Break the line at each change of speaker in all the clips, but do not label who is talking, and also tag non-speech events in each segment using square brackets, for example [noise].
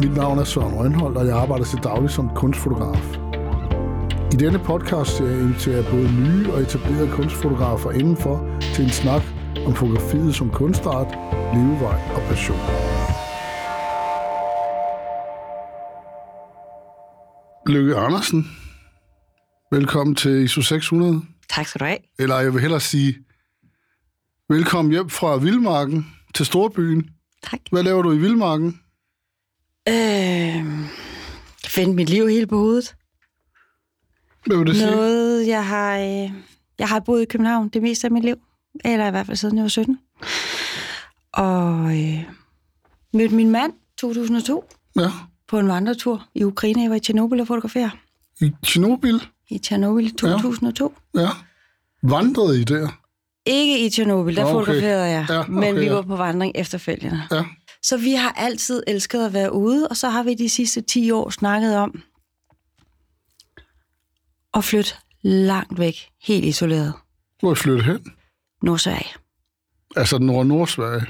Mit navn er Søren Rønholdt, og jeg arbejder til daglig som kunstfotograf. I denne podcast ser jeg inviterer både nye og etablerede kunstfotografer indenfor til en snak om fotografiet som kunstart, levevej og passion. Løkke Andersen, velkommen til ISO 600.
Tak skal du have.
Eller jeg vil hellere sige, velkommen hjem fra Vildmarken til Storbyen.
Tak.
Hvad laver du i Vildmarken?
Øh, vendte mit liv helt på hovedet.
Hvad vil det sige?
Noget, jeg har, øh, jeg har boet i København det meste af mit liv. Eller i hvert fald siden jeg var 17. Og øh, mødte min mand 2002
Ja.
på en vandretur i Ukraine. Jeg var i Tjernobyl og fotograferer.
I Tjernobyl?
I Tjernobyl 2002. Ja.
Ja. Vandrede I der?
Ikke i Tjernobyl, der
Nå, okay.
okay. fotograferede jeg.
Ja, okay,
men vi
ja.
var på vandring efterfølgende.
Ja.
Så vi har altid elsket at være ude, og så har vi de sidste 10 år snakket om at flytte langt væk, helt isoleret,
Hvor er I flyttet hen?
Nordsverige.
Altså Nord-Nordsverige.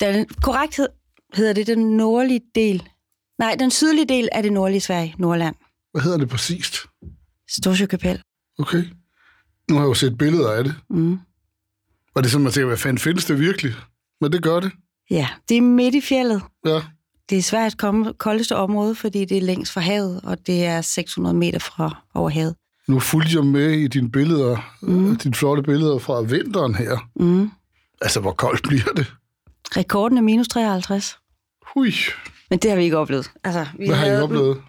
den
Den korrekt hed- hedder det den nordlige del. Nej, den sydlige del af det nordlige Sverige, Nordland.
Hvad hedder det præcist?
Storsjøkapel.
Okay. Nu har jeg jo set billeder af det.
Mm.
Og det er sådan, man tænker, hvad fanden findes det virkelig? Men det gør det.
Ja, det er midt i fjellet.
Ja.
Det er svært komme koldeste område, fordi det er længst fra havet, og det er 600 meter fra over havet.
Nu fulgte jeg med i dine billeder, mm. dine flotte billeder fra vinteren her.
Mm.
Altså, hvor koldt bliver det?
Rekorden er minus 53.
Hui.
Men det har vi ikke oplevet. Altså, vi
Hvad har I
havde-
oplevet?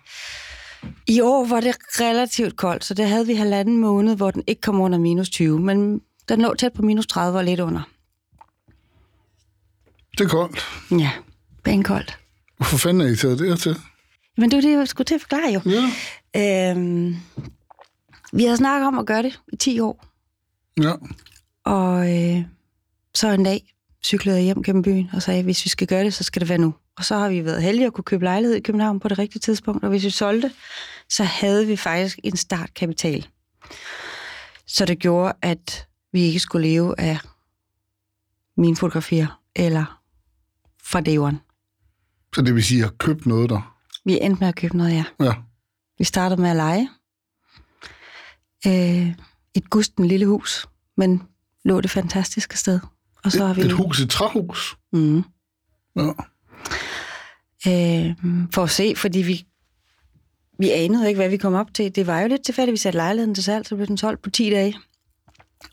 I år var det relativt koldt, så det havde vi halvanden måned, hvor den ikke kom under minus 20, men den lå tæt på minus 30 og lidt under.
Det er koldt.
Ja, banekoldt.
Hvorfor fanden er I taget det her til?
Men det var det, jeg skulle til at forklare jo.
Ja.
Øhm, vi havde snakket om at gøre det i 10 år,
Ja.
og øh, så en dag cyklede jeg hjem gennem byen og sagde, at hvis vi skal gøre det, så skal det være nu. Og så har vi været heldige at kunne købe lejlighed i København på det rigtige tidspunkt, og hvis vi solgte, så havde vi faktisk en startkapital. Så det gjorde, at vi ikke skulle leve af mine fotografier eller fra day one.
Så det vil sige, at I har købt noget der?
Vi endte med at købe noget, ja.
Ja.
Vi startede med at lege. Øh, et gusten lille hus, men lå det fantastiske sted. Og så har vi...
Et, et hus, et træhus.
Mm.
Ja.
øh, for at se, fordi vi, vi anede jo ikke, hvad vi kom op til. Det var jo lidt tilfældigt, vi satte lejligheden til salg, så blev den solgt på 10 dage.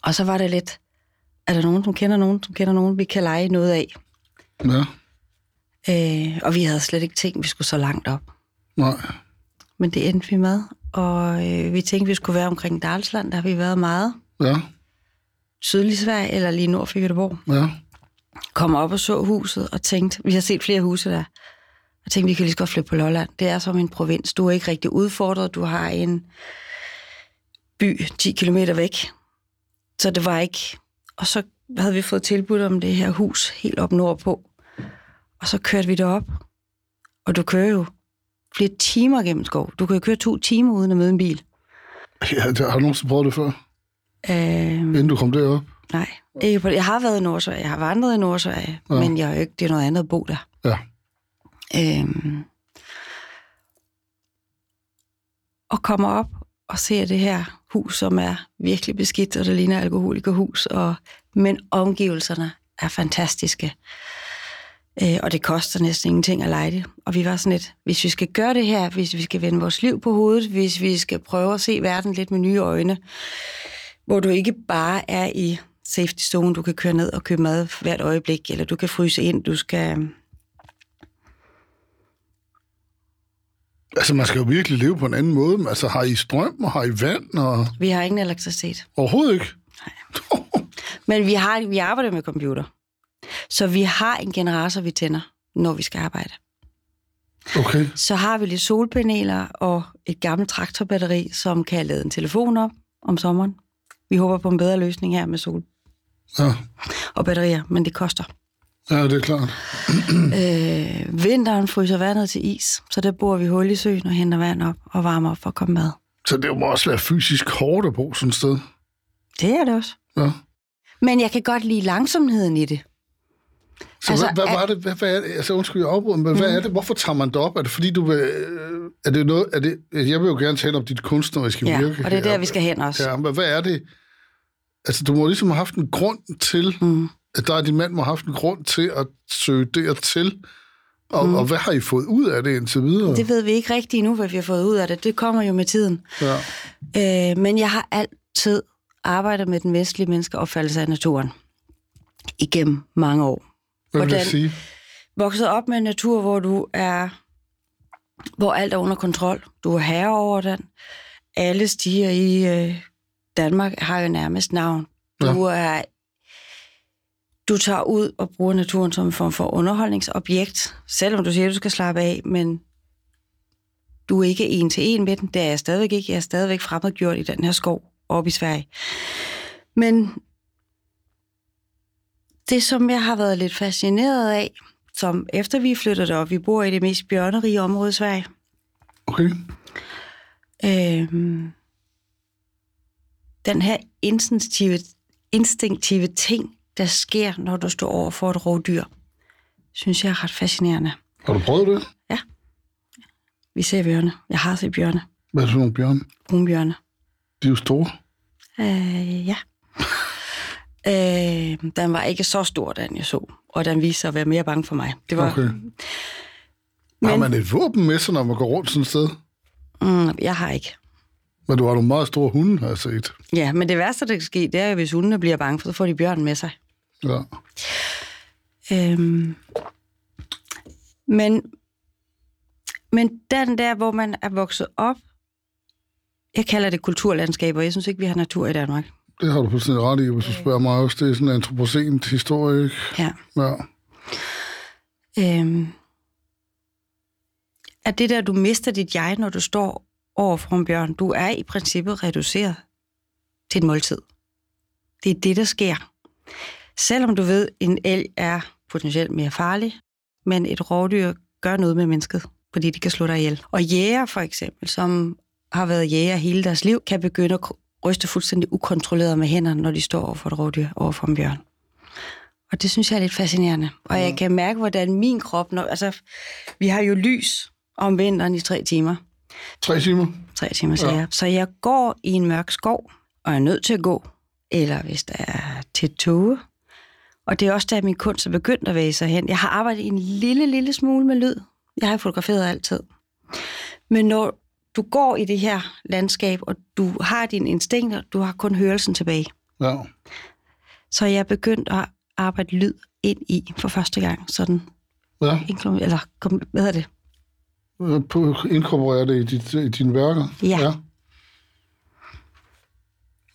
Og så var det lidt, er der nogen, som kender nogen, som kender nogen, vi kan lege noget af.
Ja.
Øh, og vi havde slet ikke tænkt, vi skulle så langt op.
Nej.
Men det endte vi med, og øh, vi tænkte, vi skulle være omkring Dalsland, der har vi været meget.
Ja.
Sydlig Sverige, eller lige nord for Göteborg.
Ja.
Kom op og så huset, og tænkte, vi har set flere huse der, og tænkte, vi kan lige så godt flytte på Lolland. Det er som en provins. Du er ikke rigtig udfordret. Du har en by 10 km væk. Så det var ikke... Og så havde vi fået tilbud om det her hus helt op nordpå. Og så kørte vi derop. Og du kører jo flere timer gennem skov. Du kan jo køre to timer uden at møde en bil.
ja det, har du nogensinde prøvet det før?
Øh,
Inden du kom derop?
nej, ikke på det. Jeg har været i Nordsverige. Jeg har vandret i Nordsverige.
Ja.
Ja. Men jeg er jo ikke, det er noget andet at bo der.
Ja.
øhm, og kommer op og ser det her hus, som er virkelig beskidt, og det ligner alkoholikerhus, og, men omgivelserne er fantastiske. Øh, og det koster næsten ingenting at lege det. Og vi var sådan lidt, hvis vi skal gøre det her, hvis vi skal vende vores liv på hovedet, hvis vi skal prøve at se verden lidt med nye øjne, hvor du ikke bare er i safety zone, du kan køre ned og købe mad hvert øjeblik, eller du kan fryse ind, du skal...
Altså, man skal jo virkelig leve på en anden måde. Men Altså, har I strøm, og har I vand, og
Vi har ingen elektricitet.
overhovedet ikke?
Men vi, har, vi arbejder med computer. Så vi har en generator, vi tænder, når vi skal arbejde.
Okay.
Så har vi lidt solpaneler og et gammelt traktorbatteri, som kan lade en telefon op om sommeren. Vi håber på en bedre løsning her med sol
Ja,
og batterier, men det koster.
ja det er klart.
Øh, vinteren fryser vandet til is, så der bor vi hul i søen og henter vand op og varmer op for at komme med.
Så det må også være fysisk hårdt at bo sådan et sted.
Det er det også.
Ja.
Men jeg kan godt lide langsomheden i det.
Så altså,
Altså,
hvad, hvad
er-
var det? Hvad, hvad er det? Altså, undskyld, jeg afbryder, men mm. hvad er det? Hvorfor tager man det op? Er det fordi, du vil... øh, Er det noget... Er det, jeg vil jo gerne tale om dit kunstneriske
Ja,
virke.
og det er der,
her.
vi skal hen også.
Ja, men hvad er det? Altså, du må ligesom have haft en grund til, mm. at der er din mand må have haft en grund til at søge dertil. Og, mm. og hvad har I fået ud af det indtil videre?
Det ved vi ikke rigtigt endnu, hvad vi har fået ud af det. Det kommer jo med tiden.
Ja.
Øh, men jeg har altid arbejdet med den vestlige menneskeopfattelse af naturen igennem mange år.
Hvad vil
Hvordan-
jeg sige?
Vokset op med en natur, hvor du er, hvor alt er under kontrol. Du er herre over den. Alle stiger i øh, Danmark har jo nærmest navn. Du er du tager ud og bruger naturen som en form for underholdningsobjekt, selvom du siger, at du skal slappe af, men du er ikke en til en med den. Det er jeg stadigvæk ikke. Jeg er stadigvæk fremmedgjort i den her skov oppe i Sverige. Men det, som jeg har været lidt fascineret af, som efter vi flytter derop, vi bor i det mest bjørnerige område i Sverige,
Okay.
øhm, den her instinktive, instinktive ting, der sker, når du står over for et rovdyr, synes jeg er ret fascinerende.
Har du prøvet det?
Vi ser bjørne. Jeg har set bjørne.
Hvad er det for nogle bjørn?
Brunbjørne.
De er jo store.
Øh, ja. [laughs] øh, den var ikke så stor, den jeg så. Og den viste sig at være mere bange for mig. Det var,
Okay. Men... Har man et våben med sig, når man går rundt sådan et sted?
mm, jeg har ikke.
Men du har nogle meget store hunde, har jeg set.
Ja, men det værste, der kan ske, det er, jo, hvis hundene bliver bange, for så får de bjørnen med sig.
Ja.
Øhm. Men, men den der, hvor man er vokset op, jeg kalder det kulturlandskaber. Jeg synes ikke, vi har natur i Danmark.
Det har du fuldstændig ret i, hvis du spørger mig også. Det er sådan en antropocent historie, ikke?
Ja.
Ja.
Øhm. Er det der, du mister dit jeg, når du står over for en bjørn? Du er i princippet reduceret til en måltid. Det er det, der sker. Selvom du ved, en elg er potentielt mere farlig, men et rovdyr gør noget med mennesket, fordi det kan slå dig ihjel. Og jæger for eksempel, som har været jæger hele deres liv, kan begynde at ryste fuldstændig ukontrolleret med hænderne, når de står over for et rovdyr, over for en bjørn. Og det synes jeg er lidt fascinerende. Og jeg kan mærke, hvordan min krop... Når, altså, vi har jo lys om vinteren i tre timer.
Tre timer.
Tre timer, siger
Ja.
ja. jeg. Så jeg går i en mørk skov, og er nødt til at gå. Eller hvis der er til tåge. Og det er også der, min kunst er begyndt at væge sig hen. Jeg har arbejdet en lille, lille smule med lyd. Jeg har fotograferet altid. Men når du går i det her landskab, og du har dine instinkter, du har kun hørelsen tilbage.
Ja.
Så jeg er begyndt at arbejde lyd ind i for første gang. Sådan
Ja.
Inklum, eller kom, hvad hedder det?
Øh, på- Inkorporerer det i, dit, i dine værker?
Ja.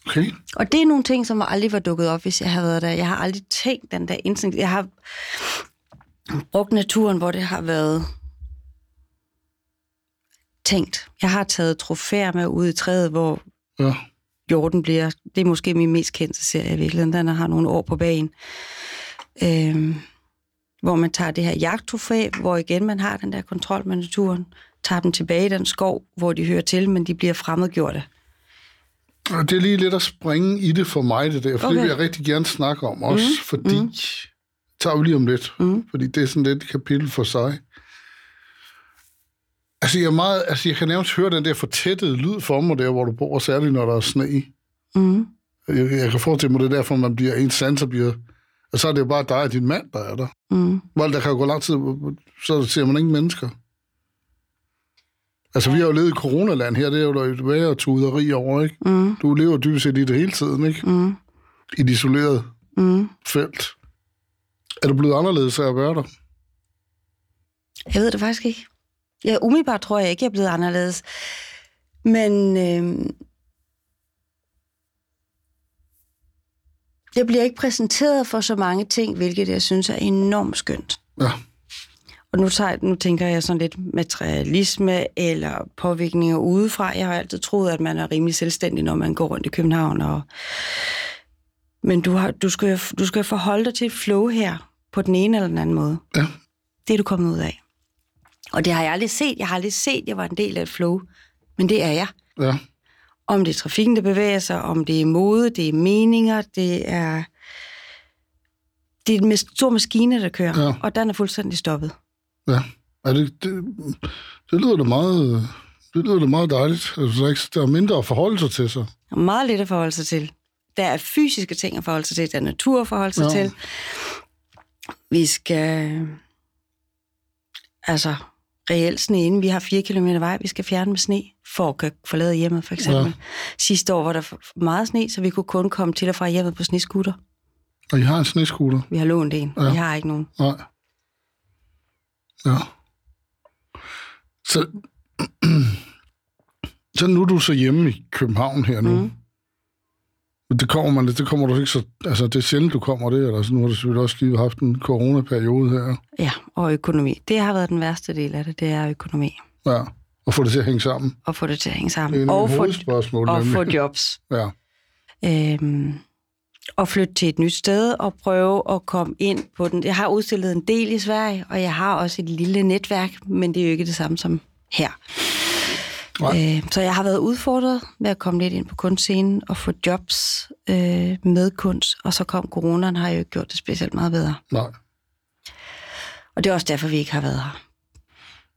Okay.
Og det er nogle ting, som aldrig var dukket op, hvis jeg havde været der. Jeg har aldrig tænkt den der instinkt. Jeg har brugt naturen, hvor det har været tænkt. Jeg har taget trofæer med ud i træet, hvor
Ja.
Jorden bliver, det er måske min mest kendte serie i virkeligheden, den har nogle år på bagen. Øhm, hvor man tager det her jagttrofæ, hvor igen man har den der kontrol med naturen, tager dem tilbage i den skov, hvor de hører til, men de bliver fremmedgjorte.
Og Det er lige lidt at springe i det for mig, det der, for okay. det
Okay.
vil jeg rigtig gerne snakke om også, mm. fordi, mm. tager vi lige om lidt, mm. fordi det er sådan lidt et kapitel for sig. Altså jeg, er meget, altså, jeg kan nærmest høre den der fortættede lyd for mig der, hvor du bor, særligt når der er sne.
Mm.
Jeg, jeg kan forestille mig, det er derfor, man bliver ens sanser bliver... Og så er det jo bare dig og din mand, der er der.
Mm.
Hvor der kan jo gå lang tid, så ser man ingen mennesker. Altså, vi har jo levet i coronaland her, det er jo der et værre tuderi over, ikke?
Mm.
Du lever dybest set i det hele tiden, ikke?
Mm.
I et isoleret
Mm.
felt. Er det blevet anderledes af at være der?
Jeg ved det faktisk ikke. Ja, umiddelbart tror jeg ikke, jeg er blevet anderledes. Men øh, jeg bliver ikke præsenteret for så mange ting, hvilket jeg synes er enormt skønt.
Ja.
Og nu, tager, nu tænker jeg sådan lidt materialisme eller påvirkninger udefra. Jeg har altid troet, at man er rimelig selvstændig, når man går rundt i København. Og... Men du, har, du, skal, jo- du skal jo forholde dig til et flow her, på den ene eller den anden måde.
Ja.
Det er du kommet ud af. Og det har jeg aldrig set. Jeg har aldrig set, at jeg var en del af et flow. Men det er jeg.
Ja.
Om det er trafikken, der bevæger sig, om det er mode, det er meninger, det er det er en mas- stor maskine, der kører,
Ja.
ja. og den er fuldstændig stoppet.
Ja, ja det, det, det lyder da meget, det lyder da meget dejligt. Altså, der, er ikke, der er mindre at forholde sig til sig.
Og meget lidt at forholde sig til. Der er fysiske ting at forholde sig til, der er natur at forholde sig
Ja.
ja. til. Vi skal... Altså, reelt sne inden. Vi har 4 km vej, vi skal fjerne med sne, for at kunne forlade hjemmet, for eksempel.
Ja.
Ja. Sidste år var der for- meget sne, så vi kunne kun komme til og fra hjemmet på sneskutter.
Og I har en sneskuter?
Vi har lånt en.
Ja.
Ja. Vi har ikke nogen.
Nej. Ja. Så, [clears throat] så nu er du så hjemme i København her nu. Mm.
Mm.
Men det kommer man lidt, det kommer du ikke så... Altså, det er sjældent, du kommer det, eller så nu har du selvfølgelig også lige haft en coronaperiode her.
Ja, og økonomi. Det har været den værste del af det, det er økonomi.
Ja, og få det til at hænge sammen.
At få det til at hænge
Det er
sammen.
nemlig
Og få,
hovedspørgsmålet.
og få
nemlig.
jobs.
Ja,
øhm, og flytte til et nyt sted og prøve at komme ind på den. Jeg har udstillet en del i Sverige, og jeg har også et lille netværk, men det er jo ikke det samme som her.
Nej.
Øh, så jeg har været udfordret med at komme lidt ind på kunstscenen og få jobs øh, med kunst, og så kom coronaen, har jo ikke gjort det specielt meget bedre.
nej.
Og det er også derfor, vi ikke har været her.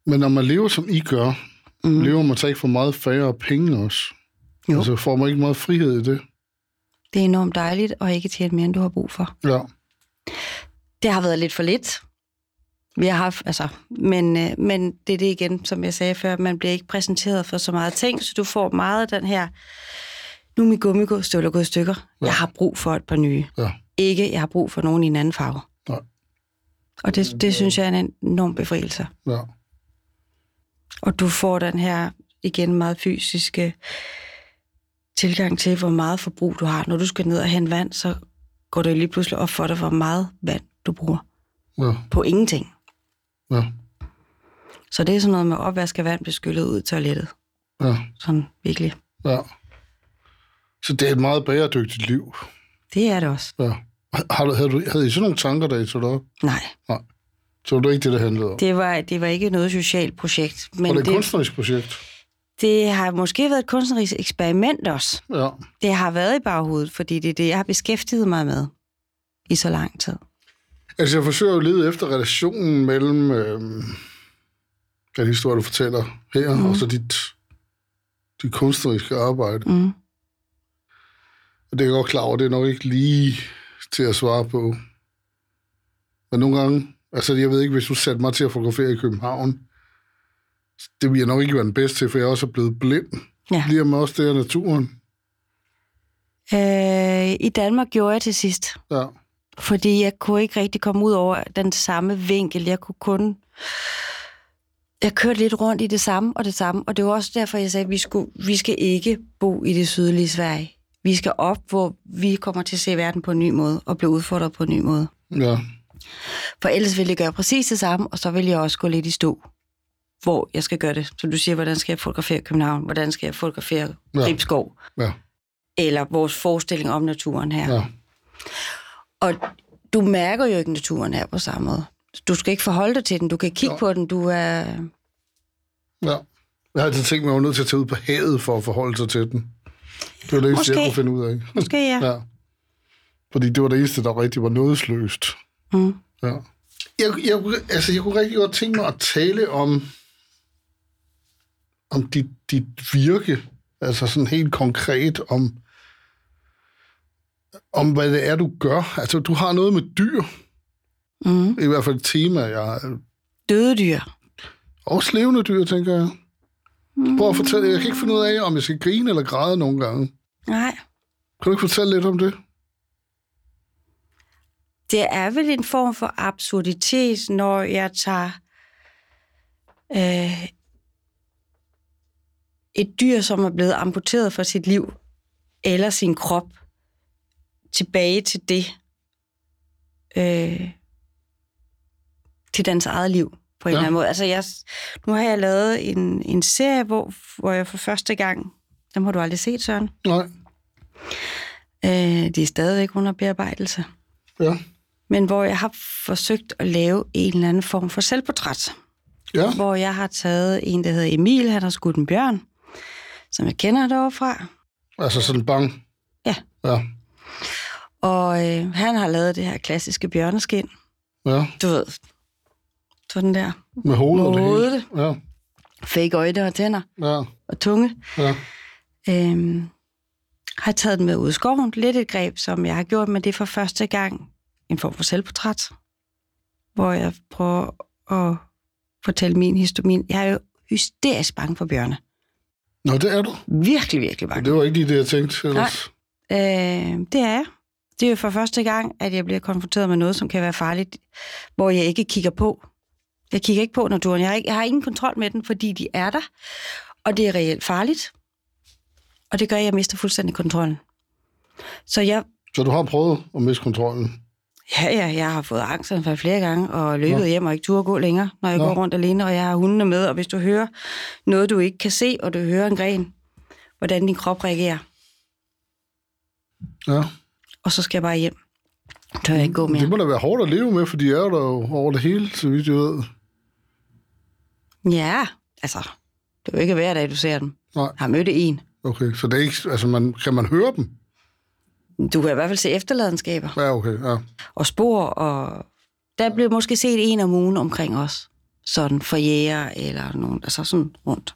Men når man lever, som I gør, mm. lever man så ikke for meget færre penge også?
Jo.
Altså, får man ikke meget frihed i det?
Det er enormt dejligt at ikke tjene mere, end du har brug for.
Ja,
Det har været lidt for lidt. Vi har haft, altså, men, øh, men det er det igen, som jeg sagde før, man bliver ikke præsenteret for så meget ting, så du får meget af den her, nu er min gummistøvler gået i stykker.
Ja.
Ja. Jeg har brug for et par nye.
ja.
Ikke, jeg har brug for nogen i en anden farve.
Nej.
Og det, det synes jeg er en enorm befrielse.
Ja,
Og du får den her, igen, meget fysiske tilgang til, hvor meget forbrug du har. Når du skal ned og hente vand, så går det lige pludselig op for dig, hvor meget vand du bruger
ja,
på ingenting.
ja,
Så det er sådan noget med opvask af vand blev skyllet ud i toilettet.
ja,
Sådan virkelig.
ja. Så det er et meget bæredygtigt liv.
Det er det også.
Ja. Har du, havde, du, havde I sådan nogle tanker, da I tog det op?
Nej,
Så var det ikke det, det handlede om?
det var, det var ikke noget socialt projekt.
Men
Men
var det et
det,
kunstnerisk projekt?
det har måske været et kunstnerisk eksperiment også.
Ja.
Det har været i baghovedet, fordi det er det, jeg har beskæftiget mig med i så lang tid.
Altså, jeg forsøger jo at lede efter relationen mellem øh, den historie, du fortæller her, mm. og så dit, dit kunstneriske arbejde.
Mm.
Og det er jeg godt klar over, det er nok ikke lige til at svare på. Men nogle gange, altså jeg ved ikke, hvis du satte mig til at fotografere i København, det ville jeg nok ikke være den bedste til, for jeg også er blevet blind.
Ja.
Lige med også det af naturen.
Øh, I Danmark gjorde jeg til sidst,
Ja,
fordi jeg kunne ikke rigtig komme ud over den samme vinkel. Jeg kunne kun... Jeg kørte lidt rundt i det samme og det samme, og det var også derfor, jeg sagde, at vi, skulle, vi skal ikke bo i det sydlige Sverige. Vi skal op, hvor vi kommer til at se verden på en ny måde og blive udfordret på en ny måde.
ja,
For ellers vil jeg gøre præcis det samme, og så vil jeg også gå lidt i stå, hvor jeg skal gøre det. Så du siger, hvordan skal jeg fotografere København? Hvordan skal jeg fotografere
Ja.
Gribskov?
ja,
Eller vores forestilling om naturen her.
ja,
Og du mærker jo ikke naturen her på samme måde. Du skal ikke forholde dig til den. Du kan kigge
Jo.
på den. Du er...
ja. Jeg har altid tænkt mig, at jeg var nødt til at tage ud på havet for at forholde sig til den. Det var det eneste, jeg
Måske.
kunne finde ud af.
Måske ja.
Ja. Fordi det var det eneste, der rigtig var nådesløst.
Mm.
Ja. Jeg, jeg, altså, jeg kunne rigtig godt tænke mig at tale om, om dit, dit virke, altså sådan helt konkret om, om hvad det er, du gør. Altså, du har noget med dyr,
Mm.
i hvert fald et tema, jeg,
Døde dyr.
også levende dyr, tænker jeg.
Mm.
Prøv at fortælle, jeg kan ikke finde ud af, om jeg skal grine eller græde nogle gange.
Nej.
Kan du ikke fortælle lidt om det?
Det er vel en form for absurditet, når jeg tager øh, et dyr, som er blevet amputeret fra sit liv eller sin krop, tilbage til det, øh, til dens eget liv på en
Ja.
ja. eller anden måde. Altså jeg, nu har jeg lavet en, en serie, hvor, hvor jeg for første gang, dem har du aldrig set, Søren,
Nej.
øh, de er stadigvæk under bearbejdelse
Ja.
men hvor jeg har forsøgt at lave en eller anden form for selvportræt.
Ja.
Hvor jeg har taget en, der hedder Emil, han har skudt en bjørn, som jeg kender derovre fra.
Altså sådan bang.
Ja.
Ja.
Og øh, han har lavet det her klassiske bjørneskin.
Ja,
Du ved, sådan der.
med hovedet og det hele.
Hovedet.
Ja,
Fake øjne og tænder
ja,
og tunge.
ja.
Øhm, har taget den med ud i skoven. Lidt et greb, som jeg har gjort, men det er for første gang en form for selvportræt, hvor jeg prøver at fortælle min historie. Jeg er jo hysterisk bange for bjørne.
Nå, det er du.
Virkelig, virkelig bange.
Det var ikke lige det, jeg tænkte ellers.
Øh, det er jeg. Det er jo for første gang, at jeg bliver konfronteret med noget, som kan være farligt, hvor jeg ikke kigger på. Jeg kigger ikke på naturen. Jeg har, ikke, jeg har ingen kontrol med den, fordi de er der, og det er reelt farligt. Og det gør, at jeg mister fuldstændig kontrollen. Så jeg,
Så du har prøvet at miste kontrollen.
ja, ja, jeg har fået angstanfald flere gange, og løbet
Nå.
Nå. hjem og ikke turde gå længere, når jeg
Nå.
Nå. går rundt alene, og jeg har hundene med, og hvis du hører noget, du ikke kan se, og du hører en gren, hvordan din krop reagerer,
Ja.
og så skal jeg bare hjem. Tør jeg ikke gå mere.
Det må da være hårdt at leve med, for de er jo der jo over det hele, så vidt jeg ved.
Ja, altså, det er jo ikke hver dag, du ser dem.
Nej,
Jeg har mødt en.
okay. Så det er ikke, altså man, kan man høre dem?
Du kan i hvert fald se efterladenskaber
Ja, okay, ja.
og spor, og der blev måske set en om ugen omkring os. Sådan for jæger eller nogen, altså sådan rundt.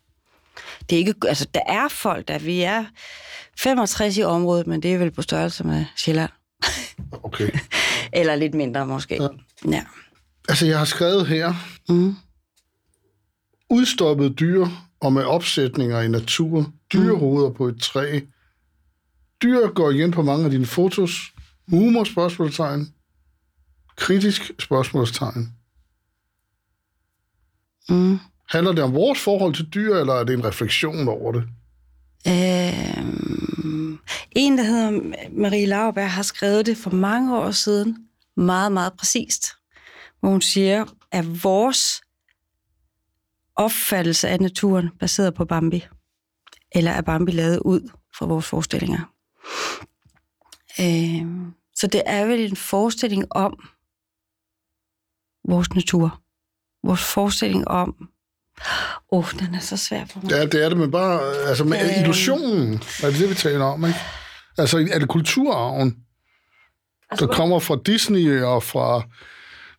Det er ikke, altså, der er folk, der vi er 65 i området, men det er vel på størrelse med Sjælland.
Okay.
Eller lidt mindre
Ja.
måske. Ja. ja.
Altså, jeg har skrevet her,
Mm.
udstoppet dyr og med opsætninger i natur, dyrehoveder på et træ. Dyr går igen på mange af dine fotos. Humor, spørgsmålstegn. Kritisk spørgsmålstegn.
Mm.
Handler det om vores forhold til dyr, eller er det en refleksion over det?
Øh, en, der hedder Marie Lauerberg, har skrevet det for mange år siden, meget, meget præcist, hvor hun siger, at vores opfattelse af naturen baseret på Bambi, eller er Bambi lavet ud fra vores forestillinger. Øh, så det er vel en forestilling om vores natur. Vores forestilling om... Åh, oh, den er så svær for mig.
Ja, det er det, men bare altså, med
Øhm.
illusionen er det, det, vi taler om, ikke? Altså, er det kulturarven, der kommer fra Disney og fra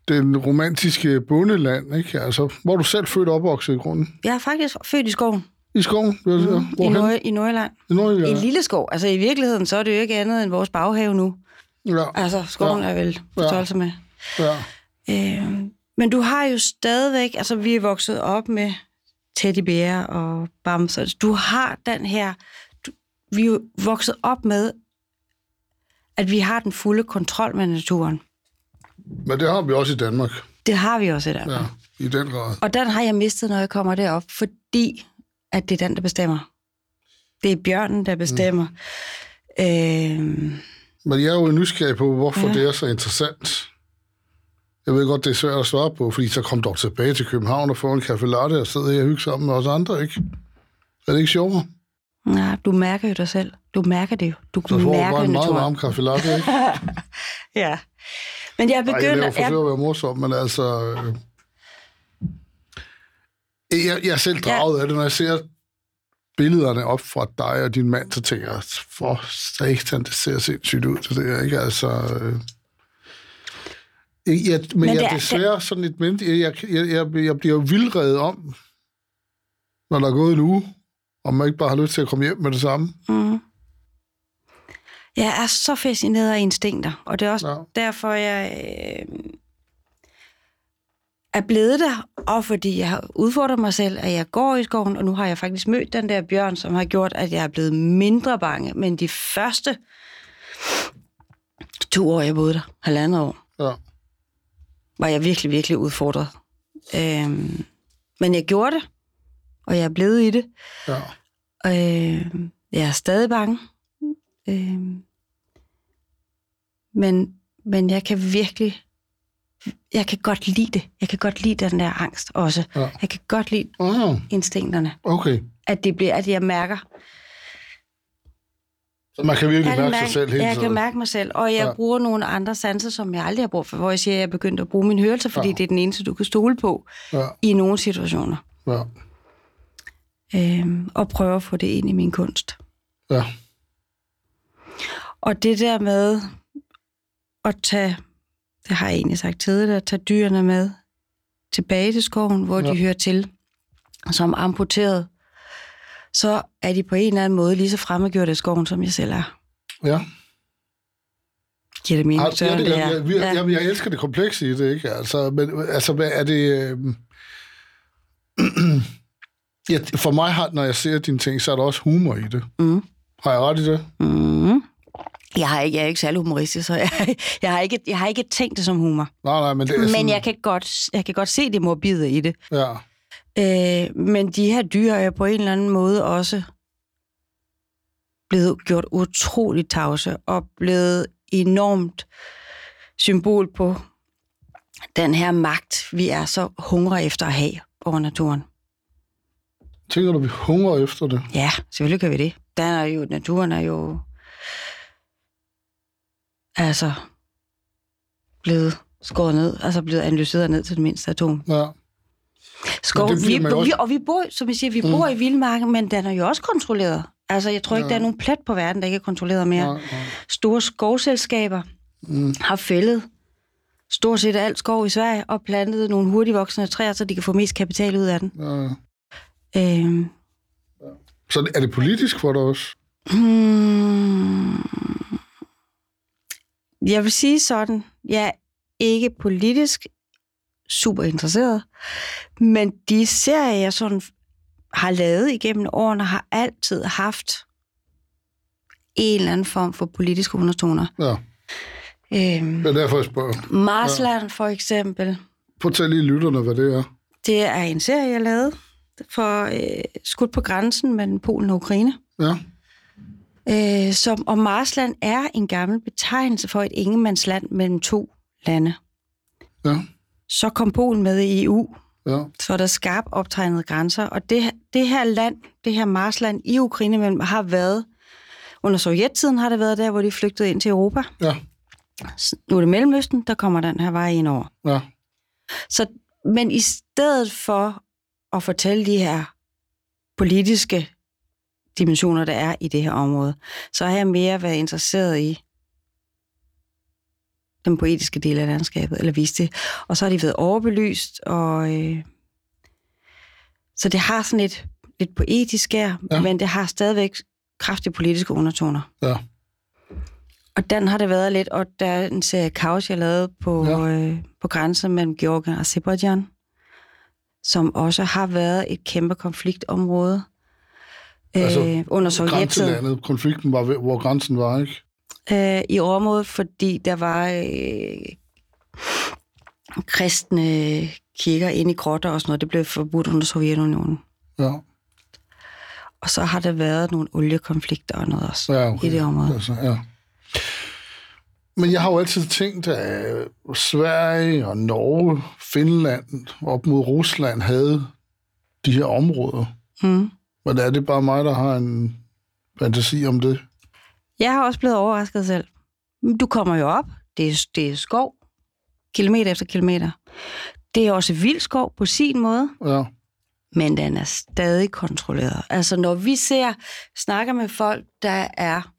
den romantiske bondeland, ikke? Altså, hvor du selv født og opvokset i grunden.
Jeg er faktisk født i skoven
I skoven? Mm.
i,
Hvorhen?
Nord- i Nordjylland.
I
Ja.
Nordjylland?
I lille skov. Altså i virkeligheden, så er det jo ikke andet end vores baghave nu.
Ja,
Altså skoven ja. er vel på
Ja.
størrelse med.
ja.
Øh, men du har jo stadigvæk, altså vi er vokset op med teddybærer og bamser. Altså, Du har den her, du, vi er jo vokset op med, at vi har den fulde kontrol med naturen.
Men det har vi også i Danmark.
Det har vi også i Danmark.
Ja, i den grad.
Og den har jeg mistet, når jeg kommer derop, fordi at det er den, der bestemmer. Det er bjørnen, der bestemmer. Mm. Øh,
Men jeg er jo nysgerrig på, hvorfor ja.
Ja.
det er så interessant. Jeg ved godt, det er svært at svare på, fordi så kom dog tilbage til København og få en kaffe latte og sidde her og hygge sammen med os andre, ikke? Er det ikke sjovere?
nej, du mærker jo dig selv. Du mærker det jo. Du
Så får du
mærker
bare en meget
naturen.
varm kaffe latte, ikke? Ej,
Ja. Men jeg
jeg
begynder...
laver
jeg,
forsøger at være morsom, men altså... øh, Jeg, jeg er selv draget af det, når jeg ser billederne op fra dig og din mand, så tænker jeg, for satan, det ser sindssygt ud, det der, ikke? Altså... øh. Jeg, men, men
Men
jeg
det
er
er-
desværre sådan et menneske, jeg, jeg, jeg, jeg bliver jo vildredet om, når der er gået en uge, og man ikke bare har lyst til at komme hjem med det samme.
mm, jeg er så fascineret af instinkter, og det er også
Nå.
ja. derfor, jeg øh, er blevet der, og fordi jeg har udfordret mig selv, at jeg går i skoven, og nu har jeg faktisk mødt den der bjørn, som har gjort, at jeg er blevet mindre bange. Men de første to år, jeg boede der, halvandet år,
Ja.
var jeg virkelig, virkelig udfordret. Øhm, men jeg gjorde det, og jeg er blevet i det.
ja.
Øh, jeg er stadig bange. Øh, men, men jeg kan virkelig... Jeg kan godt lide det. Jeg kan godt lide den der angst også.
Ja.
Jeg kan godt lide
Ah,
instinkterne.
okay.
At det bliver, at jeg mærker.
Så man kan virkelig
Jeg kan
mærke sig selv hele
jeg kan
tiden.
mærke mig selv. Og jeg
Ja.
ja. bruger nogle andre sanser, som jeg aldrig har brugt for. Hvor jeg siger, at jeg er begyndt at bruge min hørelse, fordi
Ja.
ja. det er den eneste, du kan stole på
Ja,
i nogle situationer.
ja,
Øh, og prøve at få det ind i min kunst.
ja.
Og det der med at tage, det har jeg egentlig sagt tidligere, at tage dyrene med tilbage til skoven, hvor ja.
Ja.
de hører til, som amputeret, så er de på en eller anden måde lige så fremmedgjorte i skoven, som jeg selv er.
Ja.
Giver det mening,
Altså, ja, det,
Søren,
jeg,
her?
jeg, jeg, jeg, jeg elsker det komplekse i det, ikke? Altså, men altså, hvad er det... Øh... [clears throat] ja, for mig har, når jeg ser dine ting, så er der også humor i det.
Mm.
Har jeg ret i det?
Mm. Jeg, har ikke, jeg er ikke særlig humoristisk, så jeg, jeg, har ikke, jeg har ikke tænkt det som humor.
Nej, nej, men det er sådan...
Men jeg kan godt, jeg kan godt se det morbide i det.
Ja,
Øh, men de her dyr er på en eller anden måde også blevet gjort utroligt tavse og blevet enormt symbol på den her magt, vi er så hungre efter at have over naturen.
tænker du, vi hungrer efter det?
Ja, selvfølgelig gør vi det. Der er jo, naturen er jo altså blevet skåret ned, altså blevet analyseret ned til det mindste atom.
Ja.
Skov,
Men det
vi,
bliver man jo
vi,
også- Mm.
og vi bor, som jeg siger, vi bor i Vildmarken, men den er jo også kontrolleret. Altså, jeg tror ikke,
Ja.
der er nogen plet på verden, der ikke er kontrolleret mere.
Nej, nej.
Store skovselskaber
Mm.
har fældet stort set alt skov i Sverige og plantet nogle hurtigvoksende træer, så de kan få mest kapital ud af den.
Ja, ja.
Øhm,
Så er det politisk for dig også?
hmm, jeg vil sige sådan, jeg er ikke politisk super interesseret, men de serier, jeg sådan har lavet igennem årene, har altid haft en eller anden form for politiske undertoner.
Ja,
Øhm,
det er derfor, jeg spørger.
Marsland for eksempel,
Prøv at tage lige lytterne, hvad det er.
det er en serie, jeg lavede for øh, skudt på grænsen mellem Polen og Ukraine.
Ja,
Øh, som, og Marsland er en gammel betegnelse for et ingenmandsland mellem to lande.
ja,
Så kom Polen med i EU,
ja.
så er der skarpt optegnede grænser, og det, det her land, det her Marsland i Ukraine mellem, har været, under sovjettiden har det været der, hvor de flygtede ind til Europa.
Ja,
S- Nu er det Mellemøsten, der kommer den her vej ind over.
ja,
Så, men i stedet for at fortælle de her politiske dimensioner, der er i det her område, så har jeg mere været interesseret i den poetiske del af landskabet, eller vise det. Og så har de været overbelyst, og øh, så det har sådan et lidt poetisk her,
Ja.
ja. men det har stadigvæk kraftige politiske undertoner.
ja.
Og den har det været lidt, og der er en serie Couch, jeg lavede på,
Ja.
ja. øh, på grænsen mellem Georgien og Azerbaijan, som også har været et kæmpe konfliktområde
Altså,
altså, øh, under sovjettiden
Grænselandet, konflikten var, ved- hvor grænsen var, ikke?
øh, i området, fordi der var øh, kristne kirker inde i grotter og sådan noget. Det blev forbudt under Sovjetunionen.
Ja,
Og så har der været nogle oliekonflikter og noget også
ja okay.
i det område.
Altså, ja. Men jeg har jo altid tænkt, at øh, Sverige og Norge, Finland op mod Rusland havde de her områder.
Mm.
Men er det bare mig, der har en fantasi om det?
Jeg har også blevet overrasket selv. Du kommer jo op. Det er, det er skov. Kilometer efter kilometer. Det er også vild skov på sin måde,
Ja,
men den er stadig kontrolleret. Altså når vi ser, snakker med folk, der er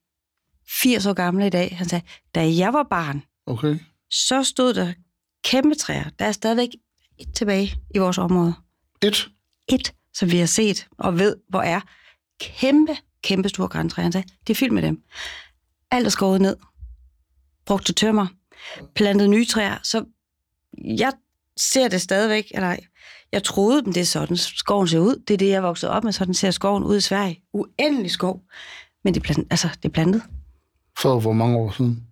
80 år gamle i dag, han sagde, da jeg var barn,
okay.
så stod der kæmpe træer. Der er stadigvæk et tilbage i vores område.
Et.
Et, som vi har set og ved, hvor er kæmpe, kæmpe store græntræer. Han sagde, det er fyldt med dem. Alt er skåret ned. Brugt til tømmer. Plantet nye træer. Så jeg ser det stadigvæk, eller jeg troede, men det er sådan, skoven ser ud. Det er det, jeg voksede op med. Sådan ser skoven ud i Sverige. Uendelig skov. Men det er, plant, altså, det er plantet.
For hvor mange år siden?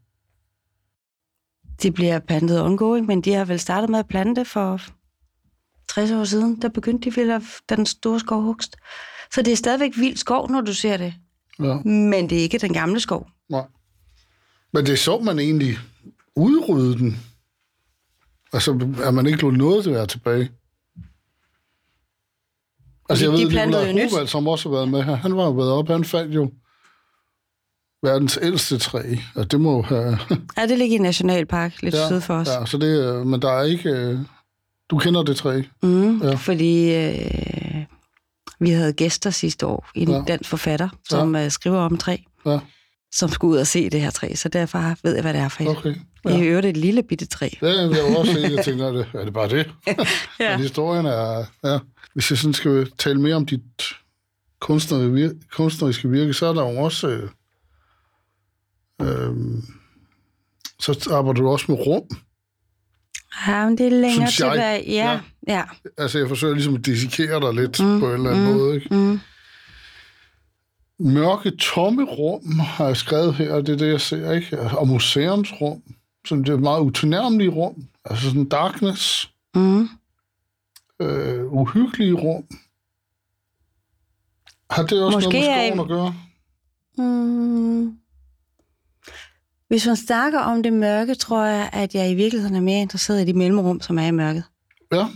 Det bliver plantet ongoing, men de har vel startet med at plante det for 60 år siden. Der begyndte de vel at den store skovhugst. Så det er stadigvæk vild skov, når du ser det.
Ja.
Men det er ikke den gamle skov.
Nej. Men det så man egentlig udrydde den. Altså, at man ikke lod noget til at være tilbage. Altså,
De-
jeg ved,
de
at
plantede
Nikolaj
jo nyt.
Hovald, som også har været med her, han var jo været op, han fandt jo verdens ældste træ, og det må jo
[laughs]
have...
Ja, det ligger i en nationalpark lidt ja, syd for os. Ja.
Ja, så det, øh, men der er ikke... øh, Du kender det træ.
Mm,
Ja.
ja. Fordi øh, vi havde gæster sidste år, en
Ja.
ja. dansk forfatter, som ja. skriver øh, om træ.
Ja.
som skulle ud og se det her træ, så derfor ved jeg, hvad det er for et.
Okay.
Ja. Det er i øvrigt et lille bitte træ.
Ja, jeg var også se,
[laughs]
jeg tænkte, er det, er det bare det?
Ja.
Men historien er... Ja. Hvis jeg sådan skal tale mere om dit kunstneriske virke, kunstneriske virke så er der jo også... Øh, øh, så arbejder du også med rum.
Ja, men det er længere
Synes jeg.
tilbage. Ja, ja.
Altså, jeg forsøger ligesom at dissekere dig lidt mm,
Mm,
på en eller anden mm.
mm.
måde. Ikke?
Mm.
Mørke tomme rum har jeg skrevet her, og det er det, jeg ser, ikke? Og museumsrum, som det er meget utilnærmelige rum, altså sådan darkness,
Mm.
øh, uhyggelige rum. Har det også
Måske
Måske noget
er
med
I-
skoven at gøre?
Mm. Hvis man snakker om det mørke, tror jeg, at jeg i virkeligheden er mere interesseret i de mellemrum, som er i mørket.
Ja,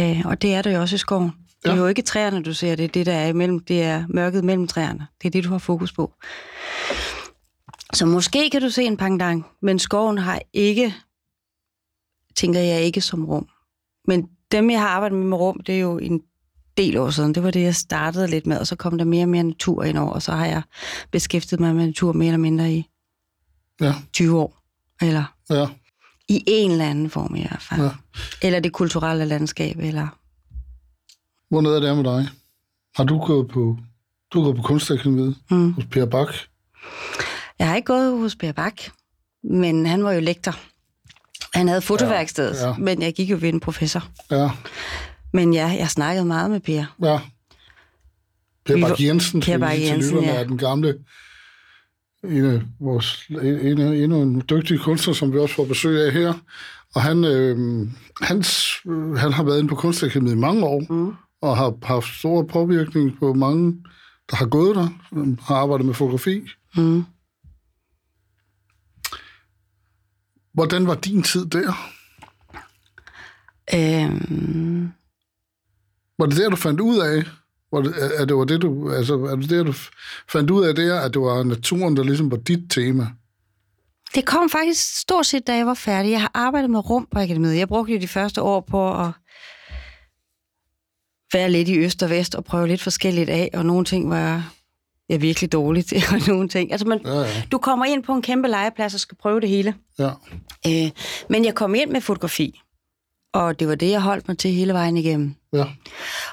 Øh, og det er det jo også i skoven. Det er
Ja.
jo ikke træerne, du ser, det er det, der er imellem. Det er mørket mellem træerne. Det er det, du har fokus på. Så måske kan du se en pangdang, men skoven har ikke, tænker jeg, ikke som rum. Men dem, jeg har arbejdet med med rum, det er jo en del år siden. Det var det, jeg startede lidt med, og så kom der mere og mere natur ind over, og så har jeg beskæftiget mig med natur mere eller mindre i
ja,
20 år. Eller
ja.
i en eller anden form i hvert fald.
Ja.
Ja. Eller det kulturelle landskab, eller
Hvor nede er det med dig? Har du gået på, du har gået på kunstakademiet
Mm.
hos Per Bak?
Jeg har ikke gået hos Per Bak, men han var jo lektor. Han havde fotoværkstedet,
Ja,
ja,
ja.
ja. men jeg gik jo ved en professor.
Ja,
Men ja, jeg snakkede meget med Per.
ja. Per
Vi var-
Bak Jensen,
Per
skal vi
Bach
lige til
Jensen,
lytterne,
ja.
er den gamle, en af vores, en, en, af- endnu en dygtig kunstner, som vi også får besøg af her. Og han, øh, hans, øh, han har været inde på kunstakademiet i mange år, mm. og har haft stor påvirkning på mange, der har gået der, som har arbejdet med fotografi.
Mm.
Hvordan var din tid der?
Øhm,
Var det der, du fandt ud af, var det, at- at det var det, du, altså, er det der, du f- fandt ud af der, at det var naturen, der ligesom var dit tema?
det kom faktisk stort set, da jeg var færdig. Jeg har arbejdet med rum på akademiet. Jeg brugte jo de første år på at være lidt i øst og vest og prøve lidt forskelligt af, og nogle ting var jeg, jeg virkelig dårlig til, [laughs] og nogle ting... Altså, man,
Ja, ja.
du kommer ind på en kæmpe legeplads og skal prøve det hele.
ja.
Øh, men jeg kom ind med fotografi, og det var det, jeg holdt mig til hele vejen igennem.
Ja,